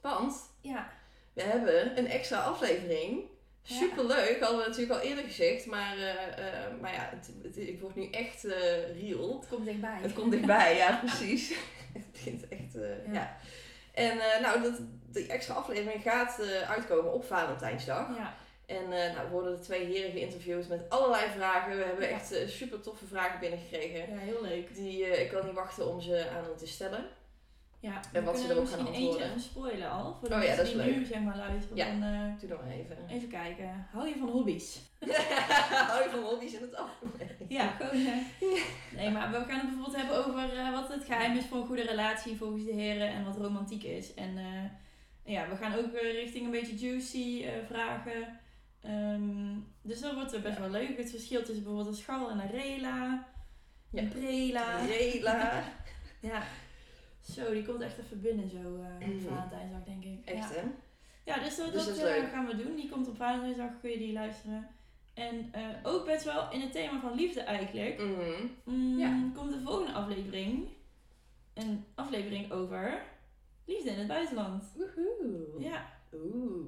[SPEAKER 3] Want
[SPEAKER 1] Ja.
[SPEAKER 3] we hebben een extra aflevering.
[SPEAKER 1] Ja.
[SPEAKER 3] Superleuk, hadden we natuurlijk al eerder gezegd. Maar, eh, eh, maar ja, het, het- ik word nu echt eh real.
[SPEAKER 1] Het komt dichtbij.
[SPEAKER 3] Het komt dichtbij, ja, precies. het begint echt, eh,
[SPEAKER 1] Ja.
[SPEAKER 3] ja. En eh, nou, dat, die extra aflevering gaat eh, uitkomen op Valentijnsdag.
[SPEAKER 1] Ja.
[SPEAKER 3] En eh nou, worden de twee heren geïnterviewd met allerlei vragen. We hebben
[SPEAKER 1] Ja.
[SPEAKER 3] echt eh, super toffe vragen binnengekregen.
[SPEAKER 1] Ja, heel leuk.
[SPEAKER 3] Die, eh, ik kan niet wachten om ze aan hen te stellen.
[SPEAKER 1] Ja,
[SPEAKER 3] En
[SPEAKER 1] we
[SPEAKER 3] wat ze
[SPEAKER 1] kunnen
[SPEAKER 3] erop gaan
[SPEAKER 1] misschien eentje
[SPEAKER 3] antwoorden.
[SPEAKER 1] even spoilen al. Voor de
[SPEAKER 3] Oh ja,
[SPEAKER 1] mensen
[SPEAKER 3] dat is
[SPEAKER 1] die
[SPEAKER 3] leuk.
[SPEAKER 1] nu zeg maar luisteren.
[SPEAKER 3] Ja.
[SPEAKER 1] Dan, eh,
[SPEAKER 3] Doe dat maar even.
[SPEAKER 1] even kijken. Hou je van hobby's?
[SPEAKER 3] Hou je van hobby's in het af?
[SPEAKER 1] Ja, gewoon. eh, Nee, maar we gaan het bijvoorbeeld hebben over eh, wat het geheim is voor een goede relatie volgens de heren en wat romantiek is. En eh, ja, we gaan ook eh, richting een beetje juicy eh, vragen. Ehm, dus dat wordt eh, best wel leuk. Het verschil tussen bijvoorbeeld een schal en een rela.
[SPEAKER 3] Ja.
[SPEAKER 1] Een prela.
[SPEAKER 3] Rela.
[SPEAKER 1] Ja. Zo, die komt echt even binnen zo eh op
[SPEAKER 3] Mhm.
[SPEAKER 1] Valentijnsdag, denk ik. Ja.
[SPEAKER 3] Echt, hè?
[SPEAKER 1] Ja, dus dat,
[SPEAKER 3] Dus
[SPEAKER 1] dat,
[SPEAKER 3] dat is
[SPEAKER 1] eh,
[SPEAKER 3] leuk.
[SPEAKER 1] gaan we doen. Die komt op Valentijnsdag, kun je die luisteren. En eh, ook best wel in het thema van liefde eigenlijk.
[SPEAKER 3] Mhm.
[SPEAKER 1] Mm,
[SPEAKER 3] Ja.
[SPEAKER 1] Komt de volgende aflevering. Een aflevering over liefde in het buitenland.
[SPEAKER 3] Woehoe.
[SPEAKER 1] Ja,
[SPEAKER 3] Oeh.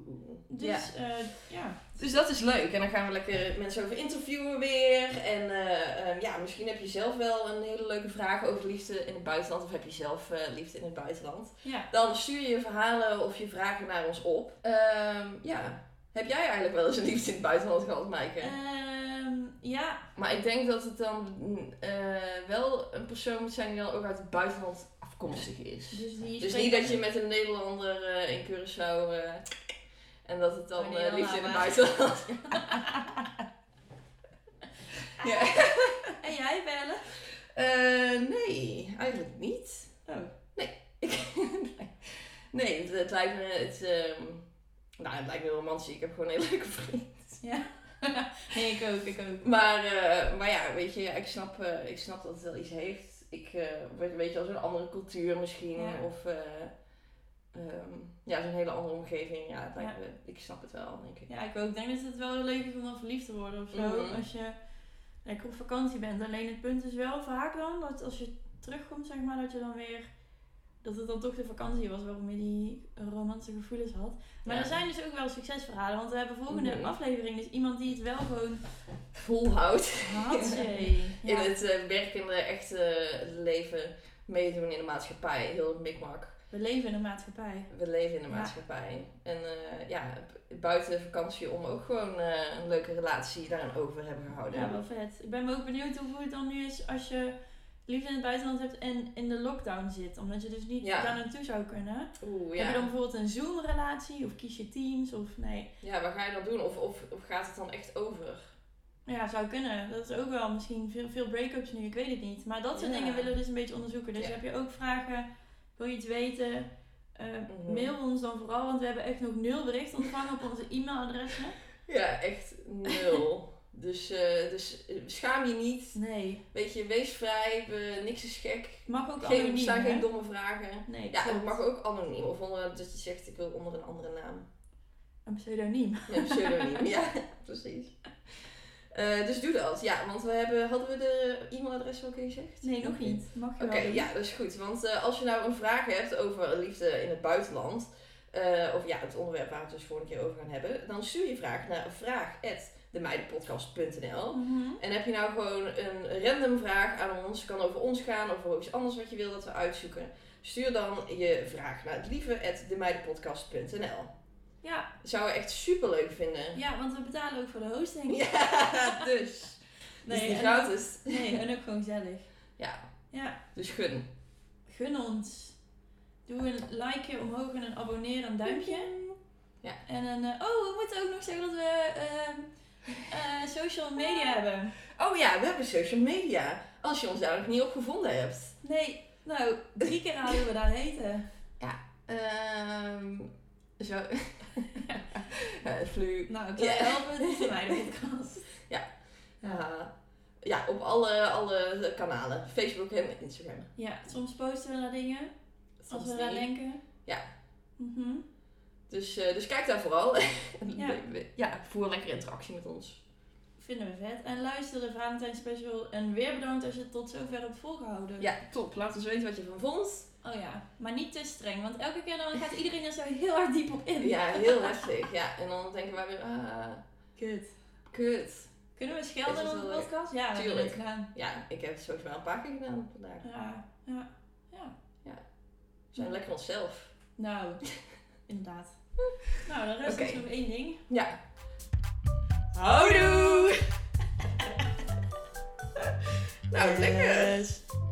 [SPEAKER 1] Dus ja, ja.
[SPEAKER 3] Dus dat is leuk. En dan gaan we lekker mensen over interviewen weer. En eh, eh, ja, misschien heb je zelf wel een hele leuke vraag over liefde in het buitenland. Of heb je zelf eh, liefde in het buitenland.
[SPEAKER 1] ja.
[SPEAKER 3] Dan stuur je je verhalen of je vragen naar ons op. Ehm, ja, heb jij eigenlijk wel eens een liefde in het buitenland gehad, Maaike?
[SPEAKER 1] Ehm, ja.
[SPEAKER 3] Maar ik denk dat het dan mm, eh, wel een persoon moet zijn die dan ook uit het buitenland afkomstig is.
[SPEAKER 1] Dus, die
[SPEAKER 3] Dus
[SPEAKER 1] spreekt-
[SPEAKER 3] niet dat je met een Nederlander eh, in Curaçao eh, en dat het dan
[SPEAKER 1] Oh,
[SPEAKER 3] eh,
[SPEAKER 1] nee, dan
[SPEAKER 3] liefde in het
[SPEAKER 1] laat maar.
[SPEAKER 3] buitenland. ja.
[SPEAKER 1] En jij bellen?
[SPEAKER 3] Eh, nee, eigenlijk niet.
[SPEAKER 1] Oh.
[SPEAKER 3] Ik- nee, het, het lijkt me. Het, ehm, nou, het lijkt me romantisch. Ik heb gewoon een hele leuke vriend.
[SPEAKER 1] Nee, ik ook, ik ook.
[SPEAKER 3] Maar, eh, maar ja, weet je, ja, ik snap, eh, ik snap dat het wel iets heeft. Ik eh, weet, weet je wel, zo'n andere cultuur misschien.
[SPEAKER 1] Ja.
[SPEAKER 3] Of eh, ehm, ja, zo'n hele andere omgeving. Ja, het lijkt
[SPEAKER 1] Ja.
[SPEAKER 3] me- ik snap het wel, denk ik.
[SPEAKER 1] Ja, ik ook. Ik denk dat het wel leuk is om dan verliefd te worden of zo.
[SPEAKER 3] Mhm.
[SPEAKER 1] Als je lekker op vakantie bent. Alleen het punt is wel vaak dan dat als je terugkomt, zeg maar, dat je dan weer. Dat het dan toch de vakantie was waarom je die romantische gevoelens had. Maar
[SPEAKER 3] Ja.
[SPEAKER 1] er zijn dus ook wel succesverhalen. Want we hebben volgende
[SPEAKER 3] Mhm.
[SPEAKER 1] aflevering dus iemand die het wel gewoon
[SPEAKER 3] Volhoud
[SPEAKER 1] had. jee.
[SPEAKER 3] in
[SPEAKER 1] Ja,
[SPEAKER 3] het eh, werkende, echte eh, leven. Meedoen in de maatschappij. Heel het mikmak.
[SPEAKER 1] we leven in een maatschappij.
[SPEAKER 3] We leven in de
[SPEAKER 1] Ja.
[SPEAKER 3] maatschappij. En eh, ja, b- buiten de vakantie om ook gewoon eh, een leuke relatie daarin over hebben gehouden.
[SPEAKER 1] Ja, wel vet. Ik ben me ook benieuwd hoe het dan nu is als je liefde in het buitenland hebt en in de lockdown zit. Omdat je dus niet
[SPEAKER 3] Ja.
[SPEAKER 1] daar naartoe zou kunnen.
[SPEAKER 3] Oeh,
[SPEAKER 1] Heb
[SPEAKER 3] ja.
[SPEAKER 1] je dan bijvoorbeeld een Zoom-relatie of kies je Teams of nee?
[SPEAKER 3] ja, wat ga je dan doen? Of, of, of gaat het dan echt over?
[SPEAKER 1] Ja, zou kunnen. Dat is ook wel misschien veel, veel break-ups nu, ik weet het niet. Maar dat soort
[SPEAKER 3] Ja.
[SPEAKER 1] dingen willen we dus een beetje onderzoeken. Dus
[SPEAKER 3] Ja.
[SPEAKER 1] heb je ook vragen, wil je iets weten? Eh,
[SPEAKER 3] Mhm.
[SPEAKER 1] Mail ons dan vooral, want we hebben echt nog nul bericht ontvangen op onze e-mailadressen.
[SPEAKER 3] Ja, echt nul. dus, eh, dus eh, schaam je niet.
[SPEAKER 1] Nee,
[SPEAKER 3] Weet je, wees vrij. We- niks is gek.
[SPEAKER 1] mag ook
[SPEAKER 3] Geen, er
[SPEAKER 1] anoniem.
[SPEAKER 3] staan
[SPEAKER 1] hè?
[SPEAKER 3] geen domme vragen.
[SPEAKER 1] Nee,
[SPEAKER 3] Ja, het
[SPEAKER 1] klopt.
[SPEAKER 3] mag ook anoniem. Of onder, dat je zegt, ik wil onder een andere naam.
[SPEAKER 1] Een pseudoniem.
[SPEAKER 3] Ja, pseudoniem. ja, precies. Eh, dus doe dat. Ja, want we hebben, hadden we de e-mailadres al gezegd?
[SPEAKER 1] Nee, nog niet. Mag je
[SPEAKER 3] Oké,
[SPEAKER 1] wel doen.
[SPEAKER 3] ja, dat is goed. Want eh, als je nou een vraag hebt over liefde in het buitenland, eh, of ja, het onderwerp waar we het dus vorige keer over gaan hebben, dan stuur je vraag naar vraag.demeidenpodcast.nl.
[SPEAKER 1] Mhm.
[SPEAKER 3] En heb je nou gewoon een random vraag aan ons, kan over ons gaan of over iets anders wat je wil dat we uitzoeken, stuur dan je vraag naar het lieve demeidenpodcast.nl.
[SPEAKER 1] Ja,
[SPEAKER 3] Dat zouden we echt super leuk vinden.
[SPEAKER 1] ja, want we betalen ook voor de hosting.
[SPEAKER 3] Ja, dus.
[SPEAKER 1] Nee,
[SPEAKER 3] Nee, dus die
[SPEAKER 1] en-
[SPEAKER 3] gratis.
[SPEAKER 1] Nee, en ook gewoon gezellig.
[SPEAKER 3] Ja,
[SPEAKER 1] Ja,
[SPEAKER 3] dus gun.
[SPEAKER 1] gun ons. Doe een likeje omhoog en een abonneer en een duimpje.
[SPEAKER 3] Ja.
[SPEAKER 1] En een, eh, oh, we moeten ook nog zeggen dat we ehm, eh, social media hebben.
[SPEAKER 3] Oh ja, we hebben social media. Als je ons daar nog niet op gevonden hebt.
[SPEAKER 1] Nee, nou, drie keer aan hoe we daar heten.
[SPEAKER 3] Ehm zo. Eh, Flu.
[SPEAKER 1] Nou, ik zal je
[SPEAKER 3] Ja.
[SPEAKER 1] helpen, dit is mijn podcast.
[SPEAKER 3] Ja. ja, op alle, alle kanalen. Facebook en Instagram.
[SPEAKER 1] Ja, soms posten we naar dingen, als
[SPEAKER 3] Soms
[SPEAKER 1] we daar
[SPEAKER 3] niet.
[SPEAKER 1] denken.
[SPEAKER 3] Ja.
[SPEAKER 1] Mhm.
[SPEAKER 3] Dus, eh, dus kijk daar vooral.
[SPEAKER 1] Ja.
[SPEAKER 3] ja. ja, voer lekker interactie met ons.
[SPEAKER 1] Vinden we vet. En luister de Valentijn Special. En weer bedankt als je het tot zover hebt volgehouden.
[SPEAKER 3] Ja, Eh, top. Laat ons weten wat je van vond.
[SPEAKER 1] Oh ja, maar niet te streng, want elke keer dan gaat iedereen er zo heel hard diep op in.
[SPEAKER 3] Ja, heel heftig. Ja, en dan denken wij weer, ah,
[SPEAKER 1] Kut.
[SPEAKER 3] kut.
[SPEAKER 1] Kunnen we schelden
[SPEAKER 3] Is
[SPEAKER 1] in
[SPEAKER 3] het
[SPEAKER 1] onze
[SPEAKER 3] wel leuk?
[SPEAKER 1] podcast? Ja, we
[SPEAKER 3] Tuurlijk.
[SPEAKER 1] het gedaan.
[SPEAKER 3] Ja, ik heb het sowieso wel een paar keer gedaan vandaag. We
[SPEAKER 1] Ja, ja, ja.
[SPEAKER 3] zijn lekker onszelf.
[SPEAKER 1] Nou, inderdaad. Nou, dan rest
[SPEAKER 3] Oké.
[SPEAKER 1] ons nog één ding.
[SPEAKER 3] Ja.
[SPEAKER 2] Houdoe!
[SPEAKER 3] Nou, lekker.
[SPEAKER 2] Yes.